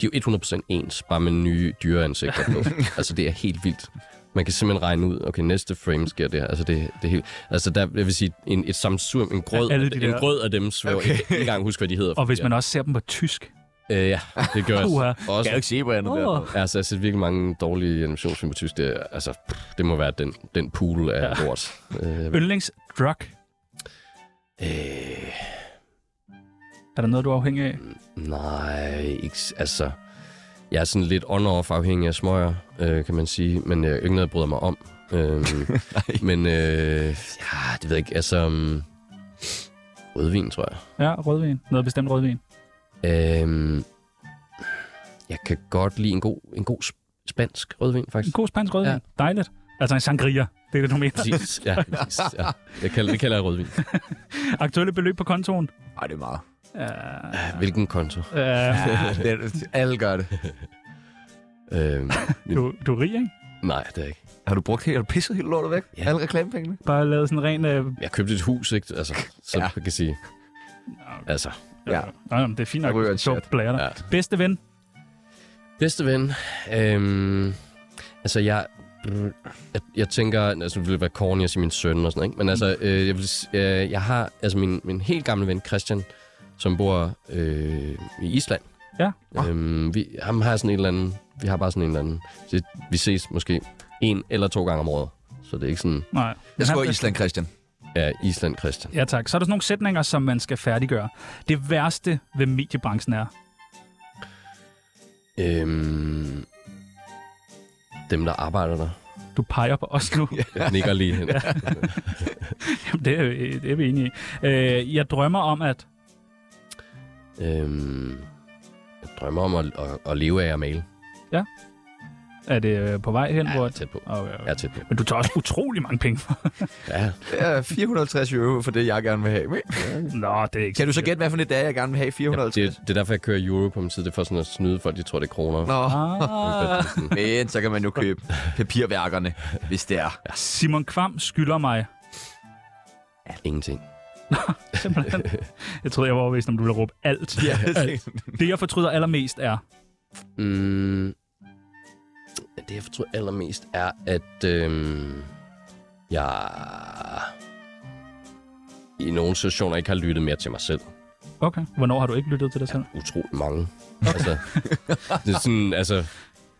de er jo 100% ens, bare med nye dyreansigter på. altså, det er helt vildt. Man kan simpelthen regne ud, okay, næste frame sker det her. Altså, det, det er helt... Altså, der, jeg vil sige, en, et samsur, en grød, Ja, alle de en der. grød af dem, så okay. jeg kan ikke engang huske, hvad de hedder. Og hvis fordi man også ser dem på tysk. Øh, ja, det gør jeg Uha. også. også. ikke se på andet Åh. Altså, jeg har set virkelig mange dårlige animationsfilm på tysk. Det, er- altså, pff, det må være den, den pool af ja. lort. Øh, Yndlingsdrug. øh, Er der noget, du er afhængig af? nej, ikke, s- altså... Jeg er sådan lidt on-off afhængig af smøger, øh, kan man sige. Men jeg er ikke noget, jeg bryder mig om. Øh, men øh, ja, det ved jeg ikke. Altså, um, rødvin, tror jeg. Ja, rødvin. Noget bestemt rødvin. Øhm, jeg kan godt lide en god, en god sp- spansk rødvin, En faktisk. god spansk rødvin. Ja. Ja. Dejligt. Altså en sangria. Det er det, du mener. Præcis, ja, præcis, ja. Jeg kalder, det kalder jeg rødvin. Aktuelle beløb på kontoen. Ej, det er meget. Hvilken konto? Øh, Ja, det er, alle gør det. Øhm, du, du er rig, ikke? nej, det er jeg ikke. Har du brugt helt, har du pisset helt lortet væk? Ja. Alle reklamepengene? Bare lavet sådan en ren... Øh... Jeg købte et hus, ikke? Altså, så Ja. ja. kan sige. Altså, Ja. Nej, men det er fint nok, Jeg ryger hvis du en så blærer dig. Ja. Ja. Bedste ven. bedste ven. Øhm, altså, jeg, jeg, jeg tænker, altså, det ville være corny at sige min søn og sådan noget, ikke? Men altså, øh, jeg, vil, s- øh, jeg har altså min, min helt gamle ven, Christian, som bor øh, i Island. Ja. Øhm, vi, ham har sådan en eller anden, vi har bare sådan en eller anden, det, vi ses måske en eller to gange om året. Så det er ikke sådan, Nej. Jeg Han- tror Island, Christian. ja, Island Christian. Ja tak. Så er der sådan nogle sætninger, som man skal færdiggøre. Det værste ved mediebranchen er... Øhm, dem, der arbejder der. Du peger på os nu. Jeg nikker lige hen. ja. Jamen, det, er, det er vi enige i. Øh, jeg drømmer om, at... øhm, jeg drømmer om at, at, at leve af at male. Er det øh, på vej hen? Ja, hvor... jeg er tæt på. Okay, okay. Jeg er tæt på. Men du tager også utrolig mange penge for. Ja, Ja, 450 euro for det, jeg gerne vil have. Nå, det er ikke Kan du så gætte, hvad for det er, jeg gerne vil have? Ja, 450? det, det er derfor, jeg kører euro på min side. Det er for sådan at snyde folk, de tror, det er kroner. Nå, Ah, men så kan man jo købe papirværkerne, hvis det er. Simon Kvam skylder mig. Ingenting. Simpelthen. Jeg troede, jeg var overbevist, om du ville råbe alt. Ja, Det, jeg fortryder allermest, er... Mm, det, jeg fortryder allermest, er, at øhm, jeg i nogle situationer ikke har lyttet mere til mig selv. Okay. Hvornår har du ikke lyttet til dig selv? Utrolig mange. Altså, det er sådan, altså,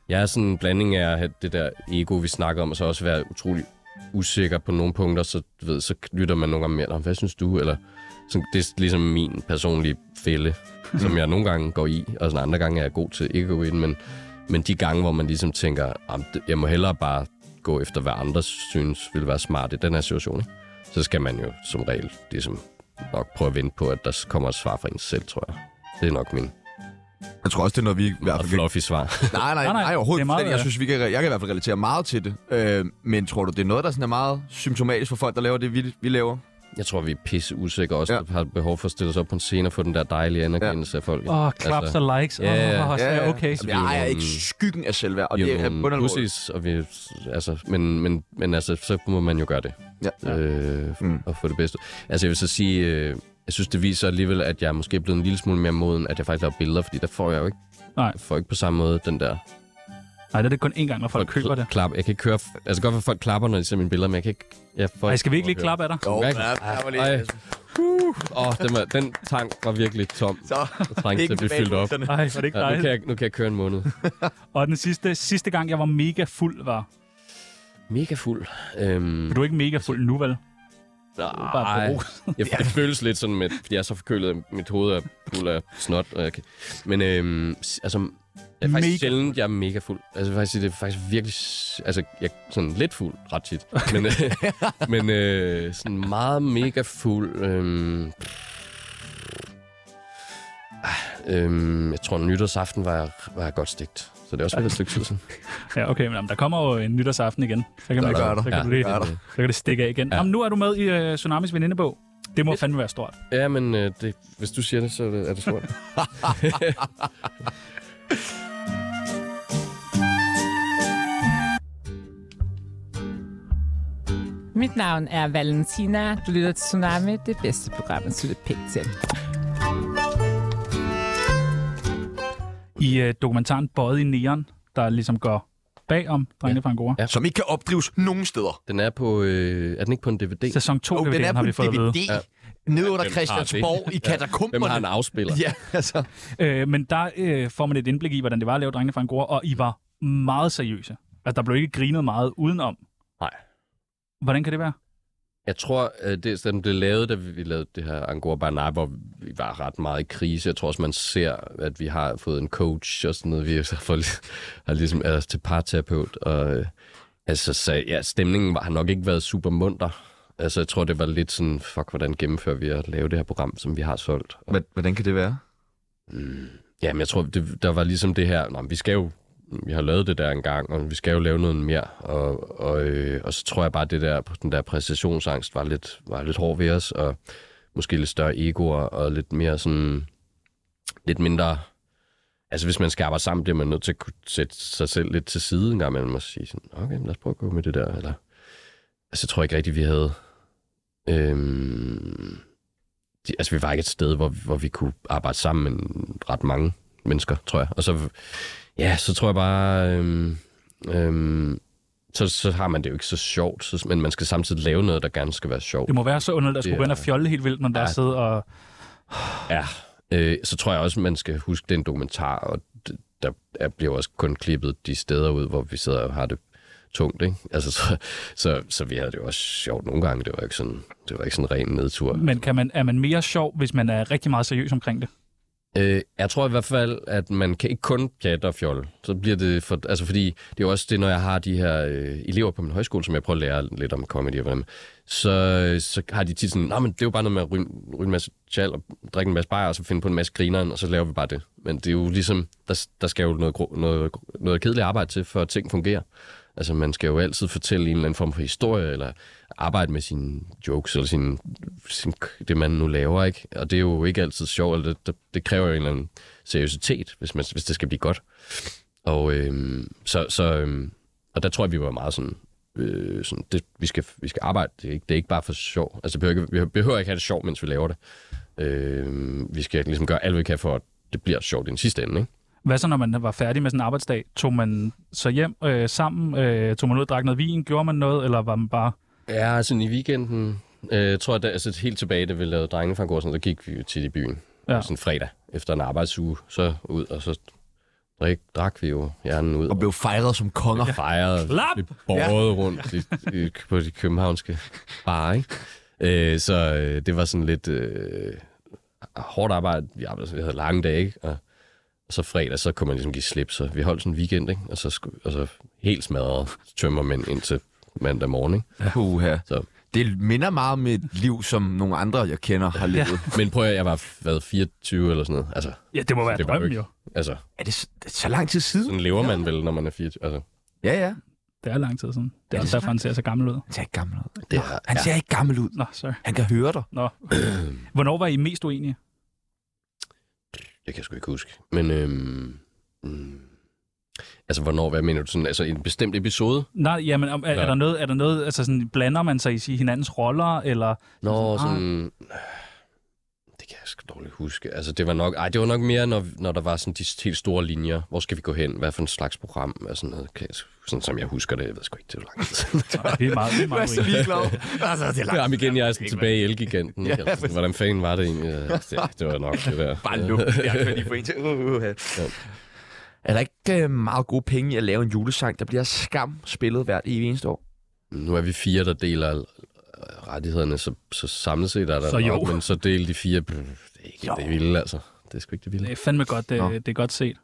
jeg er sådan en blanding af at have det der ego, vi snakker om, og så også være utrolig usikker på nogle punkter, så, du ved, så lytter man nogle gange mere, "Nå, hvad synes du? Eller, sådan, det er ligesom min personlige fælde, som jeg nogle gange går i, og sådan andre gange er jeg god til ikke at gå i den, men, men de gange, hvor man ligesom tænker, "Jamen, det- jeg må hellere bare gå efter, hvad andre synes vil være smart i den her situation, ikke? så skal man jo som regel ligesom nok prøve at vente på, at der kommer et svar fra en selv, tror jeg. Det er nok min Jeg tror også, det er noget, vi i hvert og fald kan... fluffy svar. Nej, nej, Nej, nej, nej, det er overhovedet. meget, Meget, jeg øh, synes, vi kan, jeg kan i hvert fald relatere meget til det. Øh, men tror du, det er noget, der sådan er meget symptomatisk for folk, der laver det, vi, vi laver? Jeg tror, vi er pisse usikre også, Ja. ja. har behov for at stille os op på en scene og få den der dejlige anerkendelse ja. af folk. Åh, oh, klaps altså, og likes. Åh, ja, ja. oh, ja, okay. Altså, Jeg ejer ikke skyggen af selvværd, og det er bundet præcis, og vi, altså, men, men, men altså, så må man jo gøre det. Ja. Øh, for, Mm. mm. Og få det bedste. Altså, jeg vil så sige, øh, jeg synes, det viser alligevel, at jeg måske er blevet en lille smule mere moden, at jeg faktisk laver billeder, fordi der får jeg jo ikke, Nej. jeg får ikke på samme måde den der... Nej, det er det kun én gang, når folk køber det. Klap. Jeg kan ikke høre... Altså, godt, at folk klapper, når de ser mine billeder, men jeg kan ikke... Jeg får Ej, skal vi ikke lige klappe af dig? Jo, Okay. ja, der var lige- Ej, Åh, oh, den, var, den tank var virkelig tom. Så, Jeg trængte til at blive fyldt op. Ej, var det ikke Ja, nu, dejligt? kan jeg, nu kan jeg køre en måned. Og den sidste, sidste gang, jeg var mega fuld, var... Mega fuld. Øhm, Men du er ikke mega fuld nu, vel? bare nej. på jeg, det føles lidt sådan, med, fordi jeg er så forkølet, at mit hoved er fuld af snot. Og jeg kan, men øhm, s- altså, jeg er faktisk Mega mega. sjældent, jeg er mega fuld. Altså, jeg vil faktisk, sige, det er faktisk virkelig... s- Altså, jeg er sådan lidt fuld ret tit. Men, øh, men øh, sådan meget mega fuld... Øhm, Ah, Øhm, jeg tror, nytårsaften var jeg, var jeg godt stegt. Så det er også været et stykke tid siden. Ja, okay, men jamen, der kommer jo en nytårsaften igen. Så kan, man, gør der. så kan, Ja, du lige, det gør der. så kan det stikke af igen. Ja. Jamen, nu er du med i øh, Tsunamis venindebog. Det må fandme være stort. Ja, men øh, det, hvis du siger det, så er det, er det stort. Mit navn er Valentina. Du lytter til Tsunami, det bedste program, at slutte pænt til. I øh, dokumentaren Bøjet i Neon, der ligesom går bagom Drengene fra Angora. Ja. Som ikke kan opdrives nogen steder. Den er på... Øh, er den ikke på en DVD? Sæson 2 Og oh, den er har på vi en fået at vide. DVD ja. nede under Hvem har Christiansborg i Hvem har en katakomberne. afspiller? Ja, altså. Øh, men der øh, får man et indblik i, hvordan det var at lave Drengene fra Angora, og I var meget seriøse. Altså, der blev ikke grinet meget udenom. Nej. Hvordan kan det være? Jeg tror, øh, det, da den blev lavet, da vi lavede det her Angora Barnab, hvor vi var ret meget i krise. Jeg tror også, man ser, at vi har fået en coach og sådan noget. Vi har så fået, har ligesom er til parterapeut. Og, øh, altså, så, ja, stemningen var, har nok ikke været super munter. Altså, jeg tror, det var lidt sådan, fuck, hvordan gennemfører vi at lave det her program, som vi har solgt? Og, Hvordan kan det være? ja, men jeg tror, det, der var ligesom det her, Nå, men vi skal jo, vi har lavet det der engang, og vi skal jo lave noget mere. Og, og, øh, og så tror jeg bare, at det der, den der præstationsangst var lidt, var lidt hård ved os, og måske lidt større egoer, og lidt mere sådan, lidt mindre... Altså, hvis man skal arbejde sammen, bliver man nødt til at kunne sætte sig selv lidt til side en gang imellem og sige sådan, okay, men lad os prøve at gå med det der, eller... Altså, jeg tror ikke rigtigt, vi havde... Øhm, de, altså, vi var ikke et sted, hvor, hvor vi kunne arbejde sammen med ret mange mennesker, tror jeg. Og så, ja, så tror jeg bare, øhm, øhm, så, så har man det jo ikke så sjovt, så, men man skal samtidig lave noget, der gerne skal være sjovt. Det må være så underligt at skulle Det gå ind og er- fjolle helt vildt, når der Ja. sidder og... Ja, øh, så tror jeg også, man skal huske den dokumentar, og d- der er- bliver også kun klippet de steder ud, hvor vi sidder og har det tungt, ikke? Altså, så, så, så vi havde det jo også sjovt nogle gange. Det var ikke sådan, det var ikke sådan en ren nedtur. Men kan man, er man mere sjov, hvis man er rigtig meget seriøs omkring det? Øh, jeg tror i hvert fald, at man kan ikke kun pjatte og fjolle. Så bliver det for, altså fordi det er jo også det, når jeg har de her øh, elever på min højskole, som jeg prøver at lære lidt om comedy og hvordan, så, øh, så har de tit sådan, nej, men det er jo bare noget med at ryge, ryge en masse tjal og drikke en masse bajer, og så finde på en masse grineren, og så laver vi bare det. Men det er jo ligesom, der, der skal jo noget, gro- noget, noget kedeligt arbejde til, for at ting fungerer. Altså, man skal jo altid fortælle en eller anden form for historie, eller arbejde med sine jokes, eller sin, sin, det, man nu laver, ikke? Og det er jo ikke altid sjovt, eller det, det, det kræver jo en eller anden seriøsitet, hvis, man, hvis det skal blive godt. Og, øhm, så, så, øhm, og der tror jeg, vi var meget sådan, øh, sådan det, vi, skal, vi skal arbejde, det er, ikke, det er ikke bare for sjov. Altså, vi behøver ikke, vi behøver ikke have det sjovt, mens vi laver det. Øh, vi skal ligesom gøre alt, hvad vi kan for, at det bliver sjovt i den sidste ende, ikke? Hvad så, når man var færdig med sådan en arbejdsdag? Tog man så hjem øh, sammen? Øh, tog man ud og drak noget vin? Gjorde man noget? Eller var man bare... Ja, sådan i weekenden, øh, tror jeg, da, altså helt tilbage, da vi lavede Drengene fra Angora, sådan, der gik vi jo tit i byen. Ja. Ja. Sådan fredag, efter en arbejdsuge, så ud, og så drik, drak vi jo hjernen ud. Og blev fejret som konger. og fejrede. Klap! Vi borgede rundt i, i, på de københavnske barer, ikke? Øh, så øh, det var sådan lidt øh, hårdt arbejde. Vi arbejdede, vi havde lange dage, ikke? Og, og så fredag, så kunne man ligesom give slip. Så vi holdt sådan en weekend, ikke? Og så, sku- og så helt smadret tømmermænd indtil mandag morgen, ikke? Puha. Så. Det minder meget om et liv, som nogle andre, jeg kender, har levet. Ja. Men prøv at høre, jeg var været 24 eller sådan noget. Altså, Ja, det må være det var drømmen ikke- jo. altså Er det s- det er så lang tid siden? sådan lever man vel, når man er 24. Altså, Ja, ja. Det er lang tid siden. Det er Ja, også det er derfor, han ser så gammel ud. Han ser ikke gammel ud. det er, Han ser ikke gammel ud. Nå, sorry. Han kan høre dig. Nå. Hvornår var I mest uenige? Det kan jeg sgu ikke huske. Men øhm, mm, altså, hvornår, hvad mener du? Sådan, altså, en bestemt episode? Nej, jamen, om- er, er, Ja. der noget, er der noget, altså sådan, blander man sig i sige, hinandens roller, eller... Nå, Sådan, sådan... Det det kan jeg sgu dårligt huske. Altså, det var nok, ej, det var nok mere, når, når der var sådan de helt store linjer. Hvor skal vi gå hen? Hvad for en slags program? Og sådan noget. Kan jeg, sådan som jeg husker det. Jeg ved sgu ikke, det er lang tid. siden. Det er meget, det er meget urimeligt. ligeglad. altså, det er langt. Jamen igen, jeg er sådan tilbage i Elgiganten. ikke? Altså, sådan, hvordan fanden var det egentlig? Altså, det, det var nok det der. Bare luk. Jeg kan lige få en til. Uh, uh, uh. Er der ikke øh, meget gode penge i at lave en julesang, der bliver skam spillet hvert evig eneste år? Nu er vi fire, der deler øh, rettighederne, så, så samlet set er der Så jo. nok, men så del de fire. Pff, Det er ikke jo. det vilde, altså. Det er sgu ikke det vilde. Det er fandme godt, det, Nå. det er godt set.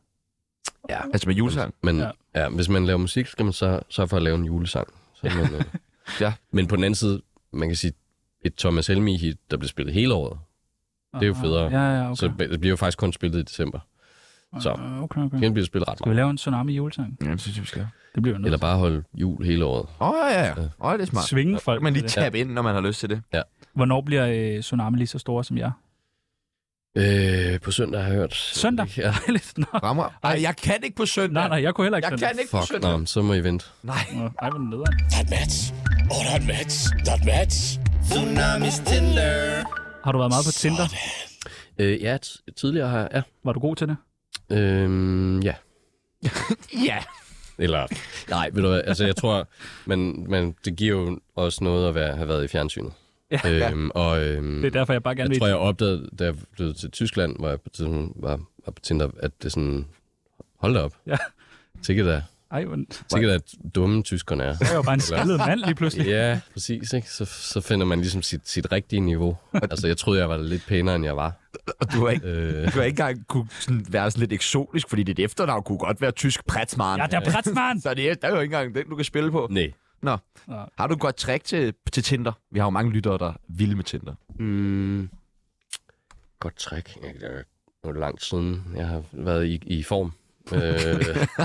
Ja. Altså med julesang? Men Ja. ja. Ja, hvis man laver musik, skal man så sørge for at lave en julesang. Så er man, øh, Ja. Men på den anden side, man kan sige, et Thomas Helmi-hit, der bliver spillet hele året, det er jo federe. Ja, ja, okay. så det bliver jo faktisk kun spillet i december. Så Ah, okay, okay. den bliver spillet ret Skal meget. vi lave en tsunami julesang? Ja, det synes jeg, vi skal. Det bliver jo noget. Eller bare holde jul hele året. Åh, oh, ja, ja. Åh, oh, det er smart. Svinge folk. Så kan man til lige det. tabe ind, når man har lyst til det. Hvornår bliver øh, tsunami lige så store som jeg? Øh, på søndag har jeg hørt. Søndag? Ja. Lidt. Nå, Rammer. Nej, jeg kan ikke på søndag. nej, nej, jeg kunne heller ikke Jeg sådan. kan ikke på Fuck, søndag. nå, så må I vente. Nej. Nå, Ej, hvor er den nederen. That match. Oh, that match. That match. Tsunamis Tinder. Har du været meget på Tinder? Øh, ja, t- tidligere har jeg... Ja. Var du god til det? Øhm, ja. Ja. Eller, nej, ved du hvad, altså jeg tror, men, men det giver jo også noget at være, have været i fjernsynet. Ja. Øhm, og, øhm, Det er derfor, jeg bare gerne jeg vil... tror, jeg opdagede, da jeg flyttede til Tyskland, hvor jeg på tidspunkt var, var på Tinder, at det sådan, hold da op. Ja. Sikkert er, Ej, men... sikkert er dumme tyskerne er. Jeg var bare en skaldet mand lige pludselig. Ja, præcis. Ikke? Så, så finder man ligesom sit, sit rigtige niveau. Altså, jeg troede, jeg var lidt pænere, end jeg var. Og du har ikke, Øh, du har ikke engang kunne sådan være sådan lidt eksotisk, fordi dit efternavn kunne godt være tysk prætsmaren. Ja, der er Bratsmann! Så det er, der er jo ikke engang den, du kan spille på. nej. Nå. Nå. Har du et godt trick til, til Tinder? Vi har jo mange lyttere, der er vilde med Tinder. Mm, godt træk. Jeg- Det er jo lang tid siden, jeg har været i, i form. Øh,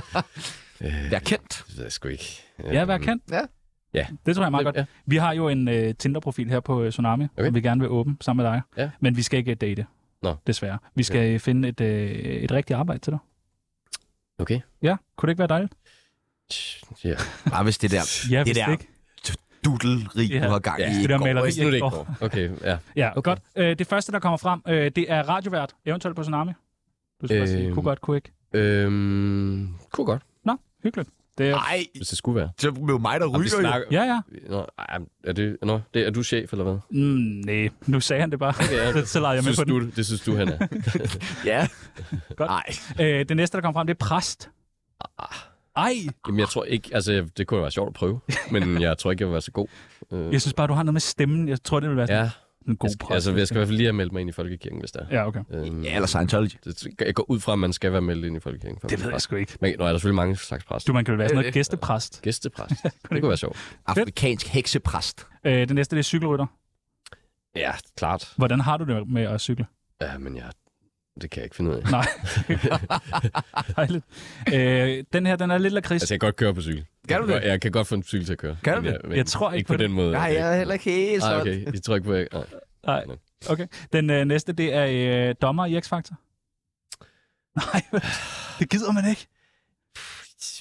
øh, Vær kendt. det ved jeg sgu ikke. Ja, hvad kan? Ja. Ja. Det tror jeg er meget godt. Ja. Vi har jo en øh, Tinder-profil her på øh, Tsunami, okay. Okay. som vi gerne vil åbne sammen med dig. Ja. Men vi skal ikke øh, date, Nå. desværre. Vi skal øh, finde et, øh, et rigtigt arbejde til dig. Okay. Ja, kunne det ikke være dejligt? Ja. Bare hvis det der Ja, det hvis der ikke. dudelrig, Ja. du har gang i. Ja, ikke Det der går. maleri. Hvis nu det ikke Åh. går. Okay, ja. Ja, okay. godt. Øh, det første, der kommer frem, øh, det er radiovært, eventuelt på Tsunami. Du skal øh... sige, Øhm. kunne godt, kunne ikke. Øhm, kunne godt, Nå, hyggeligt. Det er... Ej, hvis det skulle være. så er det jo mig, der Jamen, vi ryger jo. Ja, ja. Nå, ej, er, det, nå, det, er du chef, eller hvad? Mm, nej, nu sagde han det bare. Okay, Okay, så leger jeg med synes på den. du, det synes du, han er. Ja. Godt. Nej. Øh, det næste, der kommer frem, det er præst. Ah. Ej, Jamen, jeg tror ikke, altså, jeg- det kunne jo være sjovt at prøve, men jeg tror ikke, jeg vil være så god. Øh, jeg synes bare, du har noget med stemmen. Jeg tror, det vil være sådan ja, en god jeg skal, præst. altså, jeg skal i hvert fald lige have meldt mig ind i Folkekirken, hvis der er. Ja, okay. Øhm, Ja, eller Scientology. det- jeg går ud fra, at man skal være meldt ind i Folkekirken. for at Det blive ved jeg præst. sgu ikke. Men, nå, er der selvfølgelig mange slags Du, præster. man kan vel være sådan noget gæstepræst. Gæstepræst. det kunne være sjovt. Afrikansk heksepræst. Øh, det næste, det er cykelrytter. Ja, klart. Hvordan har du det med at cykle? Ja, men jeg, det kan jeg ikke finde ud af. Nej. Dejligt. Øh, den her, den er lidt lakrids. Altså, jeg kan godt køre på cykel. Kan du Jeg det? godt- Jeg kan godt få en cykel til at køre. Kan du Men det? Jeg, men Jeg tror ikke ikke på på den måde. Nej, jeg er heller ikke helt Nej, sådan. okay. Jeg tror ikke på, jeg... Nej. Nej, okay. Altså- Den øh, næste, det er øh, dommer i X-Factor. Nej, vel, det gider man ikke.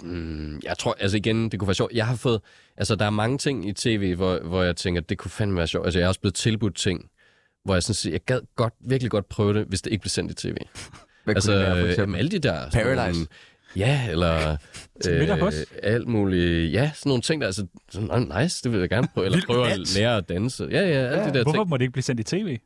Mm, jeg tror, altså igen, det kunne være sjovt. Jeg har fået, altså der er mange ting i tv, hvor, hvor jeg tænker, det kunne fandme være sjovt. Altså jeg er også blevet tilbudt ting, hvor jeg sådan siger, jeg gad godt, virkelig godt prøve det, hvis det ikke blev sendt i tv. Hvad altså, kunne det være, for jamen, eksempel? alle de der... Paradise. Nogle, ja, eller... øh, Til middag hos? alt muligt. Ja, sådan nogle ting, der er altså, sådan, "Nå, nice, det vil jeg gerne prøve. Eller Vild med prøve dans. at lære at danse. Ja, ja, alle de der Hvorfor ting. må det ikke blive sendt i tv?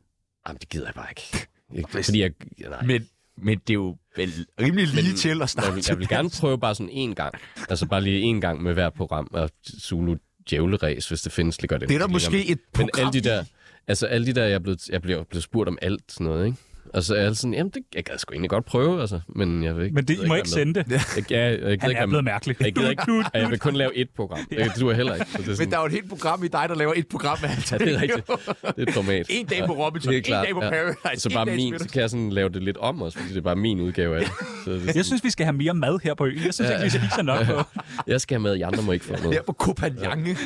Jamen, det gider jeg bare ikke. Jeg, fordi jeg, ja, nej. Men, men det er jo vel rimelig lige øh, Men- til at starte. Jeg vil, jeg vil gerne prøve bare sådan en gang. Altså bare lige en gang med hver program. Og Zulu djævleræs, hvis det findes, ligger det. Det er der lige om- måske et program Men alle de der, altså alle de der, jeg, er blevet, jeg bliver blevet spurgt om alt sådan noget, ikke? Og så er jeg sådan, jamen, det, jeg gad sgu egentlig godt prøve, altså, men jeg vil ikke. Men det, I gider må være ikke med. sende det. Jeg, jeg, jeg, jeg, Han ikke, er være blevet med. mærkelig. jeg gider ikke, og jeg vil kun lave et program. Det du er heller ikke. Så det er Men sådan, der er jo et helt program i dig, der laver et program med alt. ja, det er rigtigt. Det er et format. En dag på Ja, Robinson, det er en dag på Paradise, Så en bare dag i min, Spinner. så kan jeg sådan lave det lidt om også, fordi det er bare min udgave af det. Så det er sådan, Jeg synes, vi skal have mere mad her på øen. Jeg synes ikke, vi spiser nok på. jeg skal have med, I andre må ikke få noget. Der på Copenhagen.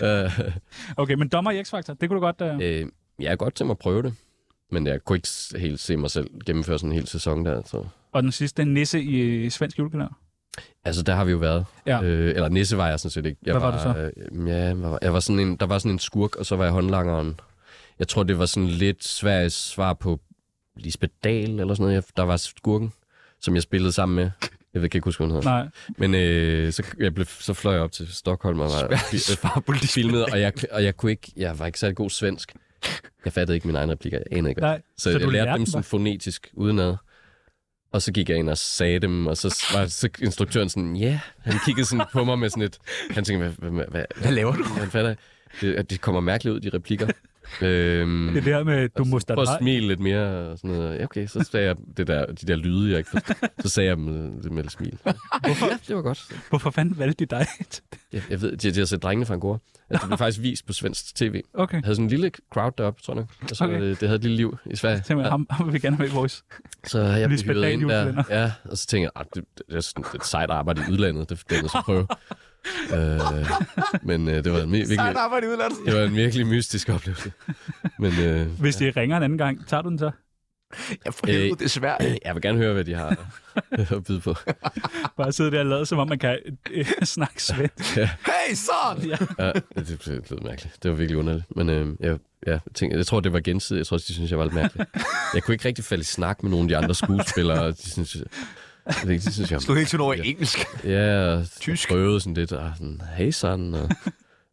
Okay, men dommer i X-Factor, det kunne du godt... Øh... Øh, jeg er godt til mig at prøve det, men jeg kunne ikke s- helt se mig selv gennemføre sådan en hel sæson der. Så. Og den sidste, den nisse i øh, svensk julekalender. Altså, der har vi jo været. Ja. Øh, eller Nisse var jeg sådan set ikke. Jeg Hvad var du så? Øh, ja, hvad var, jeg var sådan en, der var sådan en skurk, og så var jeg håndlangeren. Jeg tror, det var sådan lidt Sveriges svar på Lisbeth Dahl eller sådan noget, jeg, der var skurken, som jeg spillede sammen med. Jeg ved, kan ikke huske, hvad hun hedder. Nej. Men øh, så, jeg blev, så fløj jeg op til Stockholm og var fi- øh, filmet, og jeg, og jeg, kunne ikke, jeg var ikke særlig god svensk. Jeg fattede ikke mine egne replikker. Jeg anede ikke, hvad- Nej, Så, så så du jeg lærte lærte dem dem sådan bare? fonetisk udenad. Og så gik jeg ind og sagde dem, og så var så instruktøren sådan, ja. Yeah. Han kiggede sådan på mig med sådan et... Han tænkte, hvad, hvad, hvad, hvad laver du? Han fatter, det, at det kommer mærkeligt ud, de replikker. øhm, Det der med, du må Prøv starte at hej. smile lidt mere. Og sådan noget. Ja, okay, så sagde jeg det der, de der lyde, jeg ikke forstod. Så sagde jeg dem øh, det med et smil. Ja, det var godt. Hvorfor fanden valgte de dig? Jeg, jeg ved, det er set drengene fra Angora. Altså, det blev faktisk vist på svensk tv. okay. Jeg havde sådan en lille crowd deroppe, tror jeg. nok. Og så, Okay. okay. det, det havde et lille liv i Sverige. Tænk mig, ham, ham vil vi gerne have med i vores. Så har jeg Lisbeth blevet Dahl hyret ind der. julekalender. Ja, og så tænkte jeg, "Ah, det, det, er sådan et sejt arbejde i udlandet, det det er så prøve. øh, men øh, det var en mi- virkelig, arbejde i udlandet. det var en virkelig mystisk oplevelse. Men øh, Hvis de ringer en anden gang, tager du den så? Ja, for helvede, Øh, det er svært. jeg vil gerne høre, hvad de har at byde på. Bare sidde der og lade, som om man kan øh, snakke svensk. Hey, så! Ja, det, det, det lød mærkeligt. Det var virkelig underligt. Men øh, jeg, ja, jeg, tænkte, jeg tror, det var gensidigt. Jeg tror, de synes, jeg var lidt mærkelig. Jeg kunne ikke rigtig falde i snak med nogle af de andre skuespillere. og De synes, jeg, jeg, ved ikke, de synes, jeg Du er ikke sådan over i engelsk. Ja, og Tysk. Tysk. prøvede sådan lidt, og sådan, hey son, og,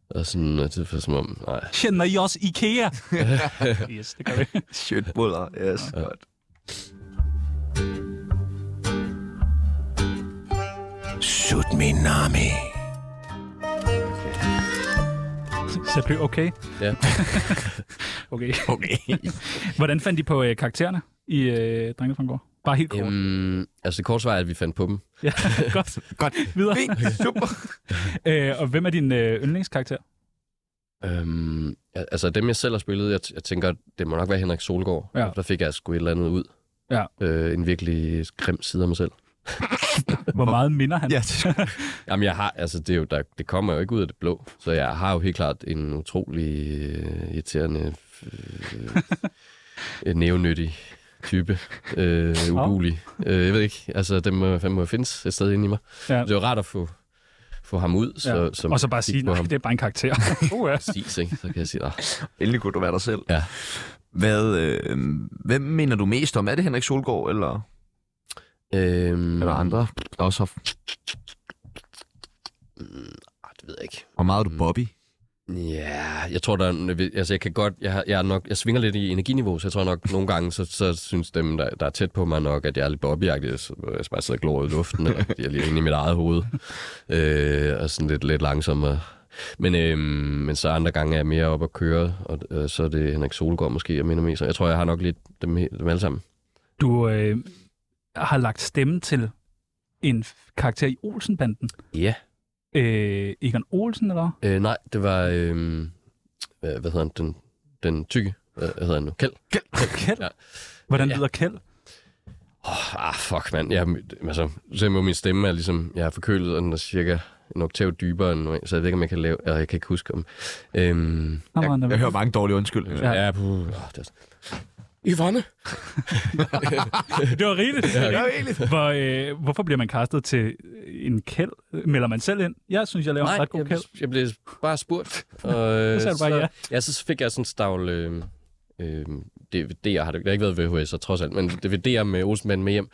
og sådan, og det var som om, nej. Kender I også IKEA? yes, det gør vi. Shit, buller. Yes, godt. Sut min nami. Så blev okay. Ja. Okay. Okay. Hvordan fandt I på øh, karaktererne i øh, Drengene fra Angora? Bare helt kort. Øhm, altså det korte svar er, at vi fandt på dem. Ja, godt. Godt. Videre. Fint. Super. Øh, og hvem er din øh, yndlingskarakter? Øhm, ja, altså dem, jeg selv har spillet, jeg, t- jeg tænker, det må nok være Henrik Solgaard. Ja. Der fik jeg sgu et eller andet ud. Ja. Øh, en virkelig grim side af mig selv. Hvor meget minder han? Ja, det er Jamen, jeg har, altså, det, er jo, der, det kommer jo ikke ud af det blå, så jeg har jo helt klart en utrolig øh, irriterende, øh, øh, nævnyttig type, øh, udulig. Øh, jeg ved ikke, altså, den må, den må findes et sted inde i mig. Ja. Ja. Det er jo rart at få, få ham ud, så, ja. som og så bare sige, nej, det er bare en karakter. uh, ja. Præcis, ikke? Så kan jeg sige, nej. Endelig kunne du være dig selv. Ja. Hvad, øh, hvem mener du mest om? Er det Henrik Solgaard, eller Øhm, er der andre, der også har... ah, Det ved jeg ikke. Hvor meget er du Bobby? Ja, jeg tror, der er, en- altså, jeg kan godt, jeg, har- jeg, er nok, jeg svinger lidt i energiniveau, så jeg tror nok, nogle gange, så, så synes dem, der, der er tæt på mig nok, at jeg er lidt bobbyagtig, så jeg bare sidder og glor ud i luften, eller jeg er lige inde i mit eget hoved, øh, og sådan lidt, lidt langsommere. Men, øh, men så andre gange er jeg mere op at køre, og øh, så er det Henrik Solgaard måske, jeg minder mest. om. Jeg tror, jeg har nok lidt dem, he- dem alle sammen. Du øh, har lagt stemme til en f- karakter i Olsenbanden. Ja. Øh, Egon Olsen, eller? hvad? Øh, nej, det var, øh, hvad, hvad hedder han, den, den tykke, hvad, hvad hedder han nu? Kjeld? Kjeld? Ja. Hvordan Ja. lyder Kjeld? Ah, fuck, mand. Jeg, altså, selvom min stemme er ligesom... Jeg er forkølet, og den er cirka en oktav dybere end normalt, så jeg ved ikke, om jeg kan lave... Eller jeg kan ikke huske om... Øhm, Nå, øh, man, Jeg hører mange dårlige undskyld. Ja. ja. ja puh, oh, det er, Yvonne. Det var rigeligt. Det var Ja, rigeligt. egentlig. Hvor, øh, hvorfor bliver man kastet til en kæld? Melder man selv ind? Jeg synes, jeg laver en ret god jeg, kæld. blev- jeg blev bare spurgt. Og, øh, sagde du bare så, ja. ja, så fik jeg sådan en stavl... Øh, øh, DVD'er har det, det har ikke været VHS'er trods alt, men DVD'er med Olsenbanden med hjem.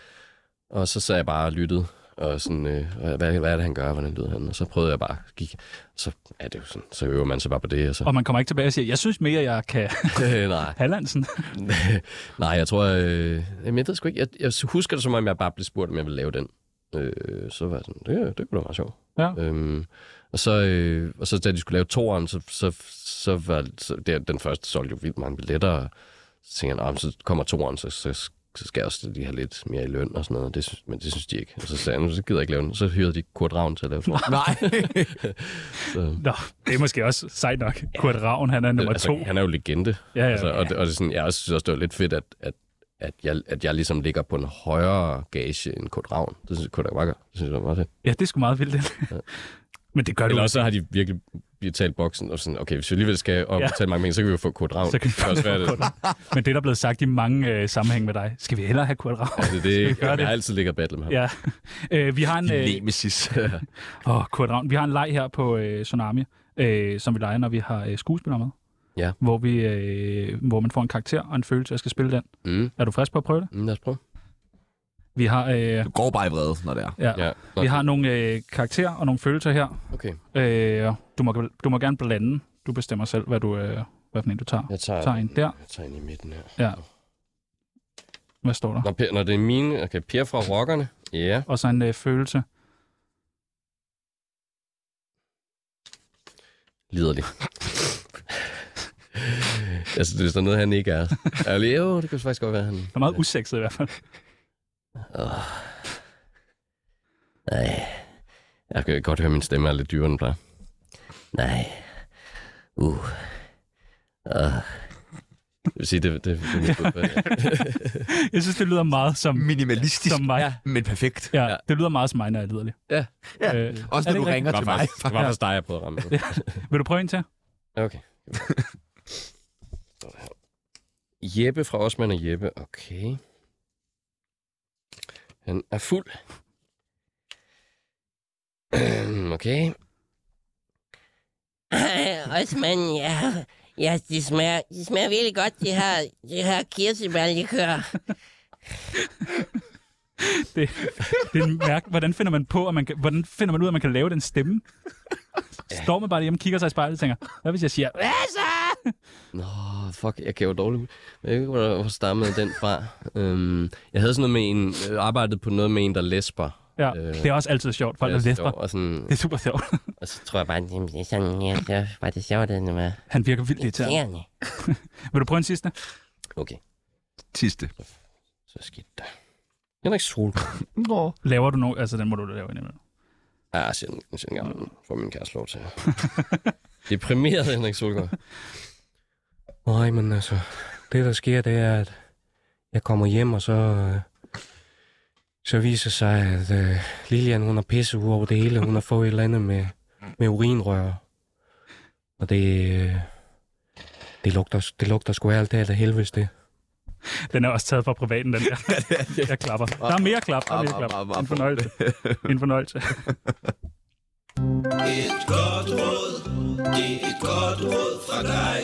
Og så sad jeg bare og lyttede, og sådan, øh, og hvad, hvad er det, han gør, hvordan lyder han? Og så prøvede jeg bare, gik, så er det jo sådan, så øver man sig bare på det, og så, Og man kommer ikke tilbage og siger, jeg synes mere, jeg kan øh, nej. Hallandsen. Nej, jeg tror... Øh, jamen, jeg ved sgu ikke. Jeg, jeg husker det, som om jeg bare blev spurgt, om jeg ville lave den. Øh, så var jeg sådan, det, det kunne da være sjovt. Ja. Øhm, og, så, øh, og så da de skulle lave toeren, så, så, så var så, der, den første solgte jo vildt mange billetter. Og så tænkte jeg, "Nå, men så kommer toeren, så, så, så skal jeg også lige have lidt mere i løn og sådan noget. Det, synes- men det synes de ikke. Og så sagde jeg, "Nu, så gider jeg ikke lave den. Så hyrede de Kurt Ravn til at lave toeren. Nej. Nå, det er måske også sejt nok. Kurt Ravn, han er nummer altså, to. Han er jo legende. Ja, ja, altså, ja. Og, det, og det, er sådan, jeg også synes også, det var lidt fedt, at, at, at, jeg, at jeg ligesom ligger på en højere gage end Kurt Ravn. Det synes jeg, Kurt Ravn Det synes jeg var meget fedt. Ja, det er sgu meget vildt. det. Men det gør det Eller jo også så har de virkelig betalt boksen, og sådan, okay, hvis vi alligevel skal op Ja. ja. betale mange penge, så kan vi jo få Kurt Ravn. Så kan vi det også være det. Men det, der er blevet sagt i mange øh, sammenhæng med dig, skal vi hellere have Kurt Ravn? Altså, det, vi gøre jeg det? har altid ligget og battlet med ham. Ja. Øh, vi har en... Øh, Nemesis. åh, Kurt Ravn. Vi har en leg her på øh, Tsunami, øh, som vi leger, når vi har øh, skuespillere med. Ja. hvor, vi, øh, hvor man får en karakter og en følelse, jeg skal spille den. Mm. Er du frisk på at prøve det? Mm, lad os prøve. Vi har, øh, ja, Du går bare i vrede, når det er. ja. Nå, Vi har nogle øh, karakterer og nogle følelser her. Okay, Øh, du, må, du må gerne blande. Du bestemmer selv, hvad, du, øh, hvad for en du tager. jeg tager, tager en der. jeg tager en i midten her. Ja. Hvad står der? Når, per, når det er mine, okay, Per fra Rockerne. Ja, Og så en øh, følelse. liderlig. altså, det er sådan noget, han ikke er. Altså, jo, det kan faktisk godt være, han... Den er meget usekset i hvert fald. Nej. Jeg kan godt høre, at min stemme er lidt dyrere, end den plejer. Nej. Uh. uh. Det vil sige, det, det, det er mit bud på det. Jeg synes, det lyder meget som, Minimalistisk, som mig. Ja. men perfekt. Ja, det lyder meget som mig, når jeg lider lidt. Ja. ja. Øh, Også Er når det du rigtigt? ringer Det var til mig. faktisk, det var faktisk dig, jeg prøvede at ramme. vil du prøve en til? Okay. Sådan her. Jeppe fra Osman og Jeppe. Okay. Han er fuld. Øhm, okay. Osman, ja, ja det, smager, det smager virkelig godt, det her, det her kirsebærlikør. Det, det er en mærke. Hvordan finder man på, at man kan, hvordan finder man ud, at man kan lave den stemme? Står man bare hjemme, kigger sig i spejlet og tænker, hvad hvis jeg siger, Nå, fuck, jeg kan jo dårligt. Jeg ved ikke, hvor hvor stammede den fra. Øhm, jeg havde sådan noget med en, øh, arbejdede på noget med en, der lesber. ja, Øh, det er også altid sjovt, folk der Jeg står læser. Og, sådan, Det er super sjovt. og så tror jeg bare, Bare jamen, det er sådan, ja, så var det sjovt, at det var Han virker vildt irriterende. irriterende. Vil du prøve en sidste? okay, Tiste. så skidt der. Henrik Sol. Laver du nogen? Altså, den må du lave indimellem. Ja, ah, sjældent, sjældent gammel. Mm. Får min kæreste lov til. Deprimeret, Henrik Solgaard. Nej, men altså, det der sker, det er, at jeg kommer hjem, og så, øh, så viser det sig, at øh, Lilian, hun har pisse ud over det hele. Hun har fået et eller andet med, med urinrør. Og det, øh, det, lugter, det lugter sgu af alt det her, der helvedes det. Den er også taget fra privaten, den der. Jeg klapper. Der er mere klap. Der er mere klap. En fornøjelse. En fornøjelse. Et godt råd, det er et godt råd fra dig.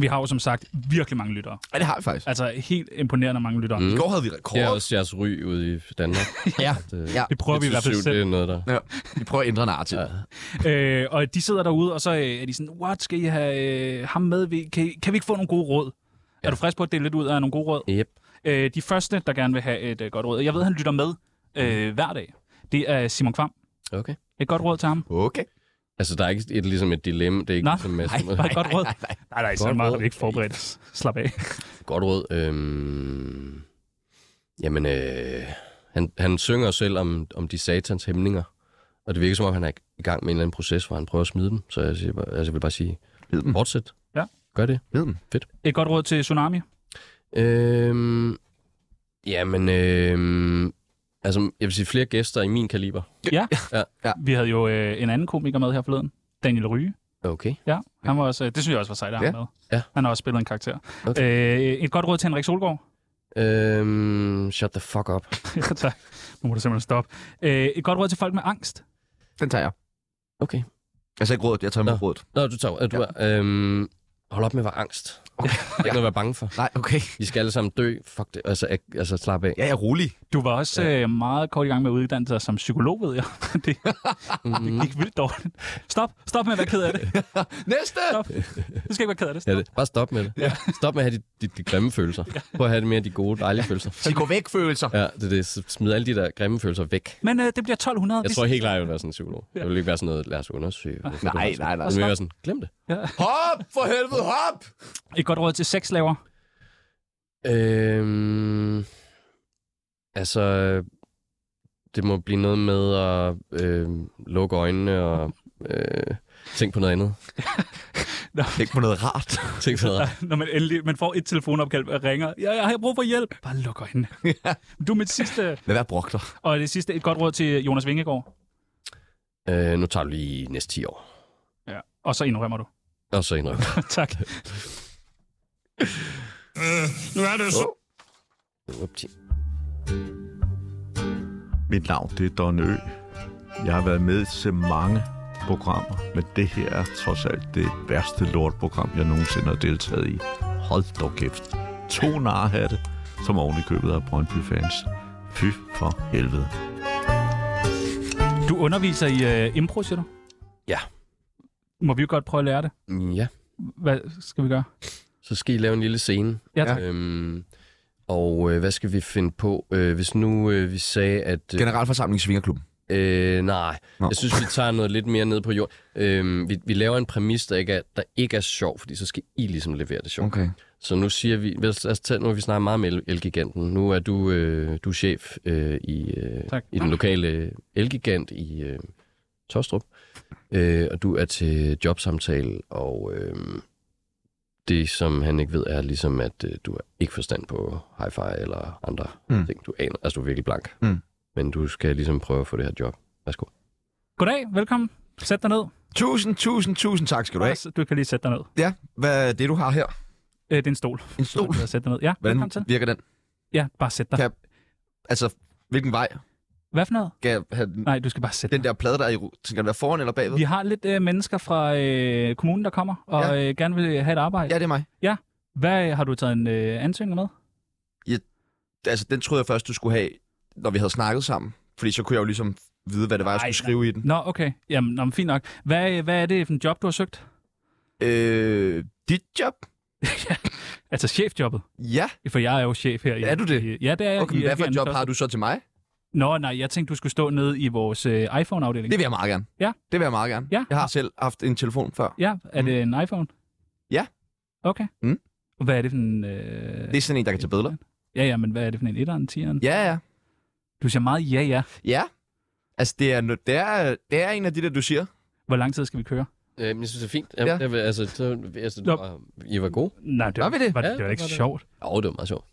Vi har jo som sagt virkelig mange lyttere. Ja, det har vi faktisk. Altså helt imponerende mange lyttere. I går havde vi rekord. jeres ry ude i Danmark. øh, Ja. ja. Det prøver vi i hvert fald selv. noget, der... ja. Vi prøver at ændre narrativ. Ja. Øh, og de sidder derude, og så øh, er de sådan, what, skal I have øh, ham med? Vi- Kan, I- kan vi ikke få nogle gode råd? Ja. Er du frisk på at dele lidt ud af nogle gode råd? Yep. Øh, de første, der gerne vil have et øh, godt råd, og jeg ved, han lytter med øh, hver dag, det er Simon Kvam. Okay. Et godt råd til ham. Okay. Altså, der er ikke et, ligesom et dilemma. Det er ikke Nej, som med, nej, som- Et godt råd. Nej, nej, nej, nej så Godt meget råd. har vi ikke forberedt. os. Slap af. Godt råd. Øhm, jamen, øh, han, han synger selv om, om de satans hæmninger. Og det virker som om, han er i gang med en eller anden proces, hvor han prøver at smide dem. Så jeg, siger, bare- altså, jeg vil bare sige, Ved den. fortsæt. Ja. Gør det. Ved den. Et godt råd til Tsunami. Øhm, jamen, øh, altså, jeg vil sige, flere gæster i min kaliber. Vi havde jo øh, en anden komiker med her forleden. Daniel Ryge. Okay. Ja, han var også, øh, det synes jeg også var sejt, at han Ja. med. Ja. Han har også spillet en karakter. Okay. Øh, et godt råd til Henrik Solgaard. Øhm, shut the fuck up. Ja, tak. Nu må du simpelthen stoppe. Øh, et godt råd til folk med angst. Den tager jeg. Okay. Altså ikke rådet, jeg tager Nå. imod rådet. Nå, du tager. øh, Du er, øhm, hold op med at være angst. Okay. Det er ikke noget at være bange for. Nej, okay. Vi skal alle sammen dø. Fuck det. Altså, ak- altså slap af. Ja, jeg er rolig. Du var også ja. øh, meget kort i gang med at uddanne dig som psykolog, ved jeg. Det, Mhm. det gik vildt dårligt. Stop. Stop med at være ked af det. Næste! Stop. Du skal ikke være ked af det. Ja, Stop. det. Bare stop med det. Ja. Stop med at have de, de, de grimme følelser. Prøv at have det mere de gode, dejlige følelser. De går væk følelser. Ja, det, er det. Så Smid alle de der grimme følelser væk. Men øh, det bliver 1200. Jeg tror helt klart, jeg vil være sådan en psykolog. Jeg vil ikke være sådan noget, lad os undersøge. Nej, nej, nej. Jeg vil være sådan, glem det. Hop! For helvede, hop! Et godt råd til sexslaver. Øhm, altså, det må blive noget med at øh, lukke øjnene og øh, tænke på noget andet. Tænk på noget rart. Tænk på noget andet. Når man endelig man får et telefonopkald og ringer. Ja, jeg har brug for hjælp. Bare luk øjnene. Du er mit sidste. Lad være brokler. Og det sidste, et godt råd til Jonas Vingegaard. Øh, nu tager du lige næste 10 år. Ja. Og så indrømmer du. Og så indrømmer. tak. Øh, nu er det jo så, Upti. Mit navn det er Don Ø. Jeg har været med til mange lortprogrammer, men det her er trods alt det værste lortprogram, jeg nogensinde har deltaget i. Hold dog kæft. To narhatte, som oven i købet af Brøndby-fans. Fy for helvede. Du underviser i øh, impro, siger du? Ja. Må vi jo godt prøve at lære det? Ja. Hvad skal vi gøre? Så skal I lave en lille scene. Ja, tak. Øhm, og øh, hvad skal vi finde på, øh, hvis nu øh, vi sagde, at... Øh, Generalforsamling i Svingerklubben. Øh, nej. Nå. Nå. Jeg synes, vi tager noget lidt mere ned på jord. Øh, vi, vi laver en præmis, der ikke, er, der ikke er sjov, fordi så skal I ligesom levere det sjovt. Okay. Så nu siger vi... Lad os tage, nu har vi snakket meget om el- Elgiganten. Nu er du, øh, du er chef øh, i, øh, Tak. i den lokale Elgigant i øh, Tostrup. Øh, og du er til jobsamtale, og øh, det, som han ikke ved, er ligesom, at øh, du har ikke forstand på hi-fi eller andre Mm. mm. ting. Du aner, altså du er virkelig blank. Mm. Men du skal ligesom prøve at få det her job. Værsgo. Goddag, velkommen. Sæt dig ned. Tusind, tusind, tusind tak skal du have. Du kan lige sætte dig ned. Ja, hvad er det, du har her? Øh, det er en stol. En stol. Sæt dig ned. Ja, velkommen Uh. Hvordan til. virker den? Ja, bare sæt dig. Kan- Altså, hvilken vej? Hvad for noget? Skal jeg have den, Nej, du skal bare sætte den der plade, der er i ru- Skal den være foran eller bagved? Vi har lidt øh, mennesker fra øh, kommunen, der kommer og ja. øh, gerne vil have et arbejde. Ja, Ja. det er mig. Hvad øh, har du taget en øh, ansøgning med? Altså, den troede jeg først, du skulle have, når vi havde snakket sammen. Fordi så kunne jeg jo ligesom vide, hvad det var, jeg Ej, skulle skrive i den. Nå, okay. Jamen, nå, men fint nok. Hvad, øh, hvad er det for en job, du har søgt? Øh, dit job? Altså chefjobbet. Ja. For jeg er jo chef her. i- Er du det? i- Ja, det er jeg. Okay, men hvad for et job har du så til mig? Nå, nej, jeg tænkte, du skulle stå nede i vores øh, iPhone-afdeling. Det vil jeg meget gerne. Ja. Det vil jeg meget gerne. Ja. Jeg har selv haft en telefon før. Ja, er det en iPhone? Ja. Okay. Mm. Og Hvad er det for en... Øh... Det er sådan en, der kan tage billeder. Ja, ja, men hvad er det for en etter, en tieren? Ja, ja. Du siger meget ja, ja. Ja. Altså, det er, det er, det er en af de der, du siger. Hvor lang tid skal vi køre? Øh, men jeg synes, det er fint. Ja. Ja. Jeg, vil- altså, så, altså, Nå. du var, I var gode. Nej, det Var vi det? Var, Ja, det, det var det ikke var det. sjovt. Åh, oh, det var meget sjovt.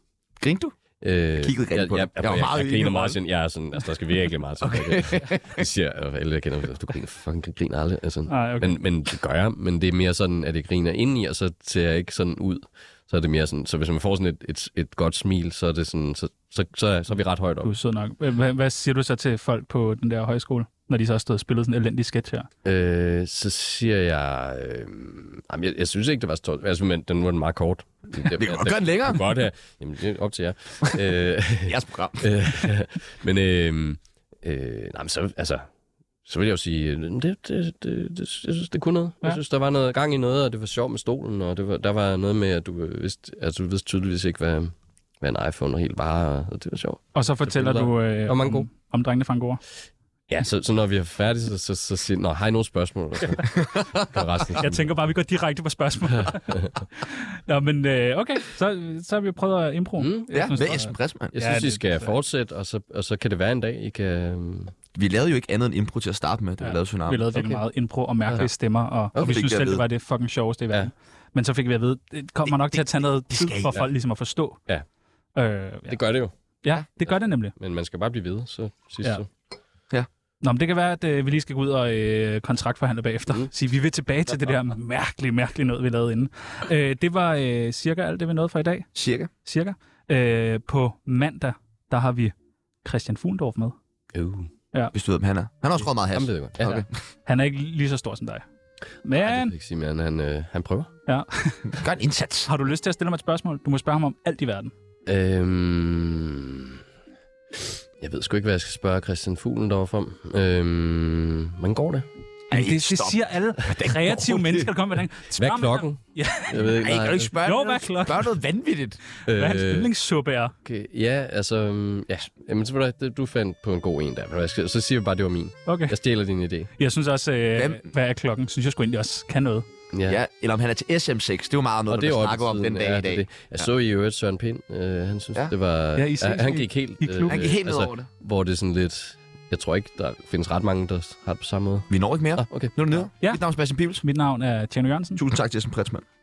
Griner du? Øh, jeg kiggede rigtig på jeg, dig. jeg, Jeg var jeg, meget jeg, i din jeg griner rolle. meget sådan, jeg er sådan, altså, der skal virkelig meget sådan. Okay. Jeg siger, og alle jeg kender, mig, du griner fucking griner aldrig. Altså. Nej, okay. Men, men det gør jeg, men det er mere sådan, at jeg griner indeni, og så ser jeg ikke sådan ud. Så er det mere sådan, så hvis man får sådan et, et, et godt smil, så er det sådan, så, så, så, så er vi ret højt op. Du er sød nok. Hvad, hvad siger du så til folk på den der højskole, når de så har stået og spillet sådan en elendig sketch her? Øh, så siger jeg, øh, jamen, jeg, jeg synes ikke, det var så tårt. Altså, men den var den meget kort. Det, det, Vi kan godt gøre den længere. kunne godt have. Jamen, det er op til jer. øh, Jeres program. øh, men, øh, øh, nej, men så, altså, så vil jeg jo sige, øh, det, det, det, det, jeg synes, det kunne noget. Ja. Ja. Jeg synes, der var noget gang i noget, og det var sjovt med stolen, og det var, der var noget med, at du øh, vidste, altså, du vidste tydeligvis ikke, hvad, hvad en iPhone helt var, og, og det var sjovt. Og så fortæller billeder. du øh, Og mange om, gode. om drengene fra Angora. Ja, så, så når vi er færdige, så, så, så siger jeg, har I nogle spørgsmål? Og så, går resten af Jeg tænker bare, at vi går direkte på spørgsmål. Nå, men øh, okay, så, så har vi jo prøvet at impro. Mm, Jeg Ja, synes, med der- Esben Bressmann. Jeg Ja, synes, det- I skal fortsætte, og så, og så kan det være en dag, I kan... øhm, Vi lavede jo ikke andet end impro til at starte med, da vi Ja. lavede Tsunami. Vi lavede virkelig okay. meget impro og mærkelige Ja. stemmer, og, okay, og Okay, vi det synes kan jeg selv, det vide. var det fucking sjoveste i Ja. verden. Men så fik vi at vide, det kommer nok til at tage noget tid skal I, for ja. folk ligesom at forstå. Ja. Øh, ja. Det gør det jo, ja, det gør det nemlig. men man skal bare blive ved, så sidst Ja. ja. Nå, men det kan være, at øh, vi lige skal gå ud og øh, kontraktforhandle bagefter. Mm. Mm. Sige, vi vil tilbage til det der mærkelige, mærkelige noget, vi lavede inden. Øh, det var øh, cirka alt det, vi nåede for i dag. Cirka. Cirka. Øh, på mandag, der har vi Christian Fuglendorf med. Uh, Hvis du ved, hvem han er. Han har også røget meget has. ham ved jeg godt. Ja, Okay. okay. Han er ikke lige så stor som dig. Men ja. Det vil jeg ikke sige, men han, han, øh, han prøver. Gør en indsats. har du lyst til at stille mig et spørgsmål? Du må spørge ham om alt i verden. Øhm, jeg ved sgu ikke, hvad jeg skal spørge Christian Fuglendorf om. Øhm, hvordan går det? Ej, det, det stop. siger alle kreative mennesker, der kommer med den. Hvad Spørg er mig klokken? Ja. Jeg ved ikke, Ej, kan du ikke spørge Jo, noget- hvad er klokken? Spørg noget vanvittigt. om, Hvad hans øh, yndlingssuppe er. okay, ja, altså... øhm, Ja. Jamen, så var det, du fandt på en god en der. Ved du hvad, jeg skal- Så siger vi bare, det var min. Okay. Jeg stjæler din idé. Jeg synes også, øh, Hvem- hvad er klokken? Synes jeg sgu egentlig også kan noget. Ja, eller om han er til SM6. Det er jo meget noget, og det er der jo snakker om oppe i den dag tiden, ja, i dag. Det. Jeg så i øvrigt Søren Pind. Øh, han synes, Ja. ja. det var... Ja, I ses han i- gik helt... øh, altså, i klubben. Han gik helt ned over det. Altså, Hvor det er sådan lidt... Jeg tror ikke, der findes ret mange, der har det på samme måde. Vi når ikke mere. Ah, okay. Nu er det nede. Ja. Mit navn er Sebastian Pibels. Mit navn er Tjerno Jørgensen. Tusind tak til Esben Pretzmann.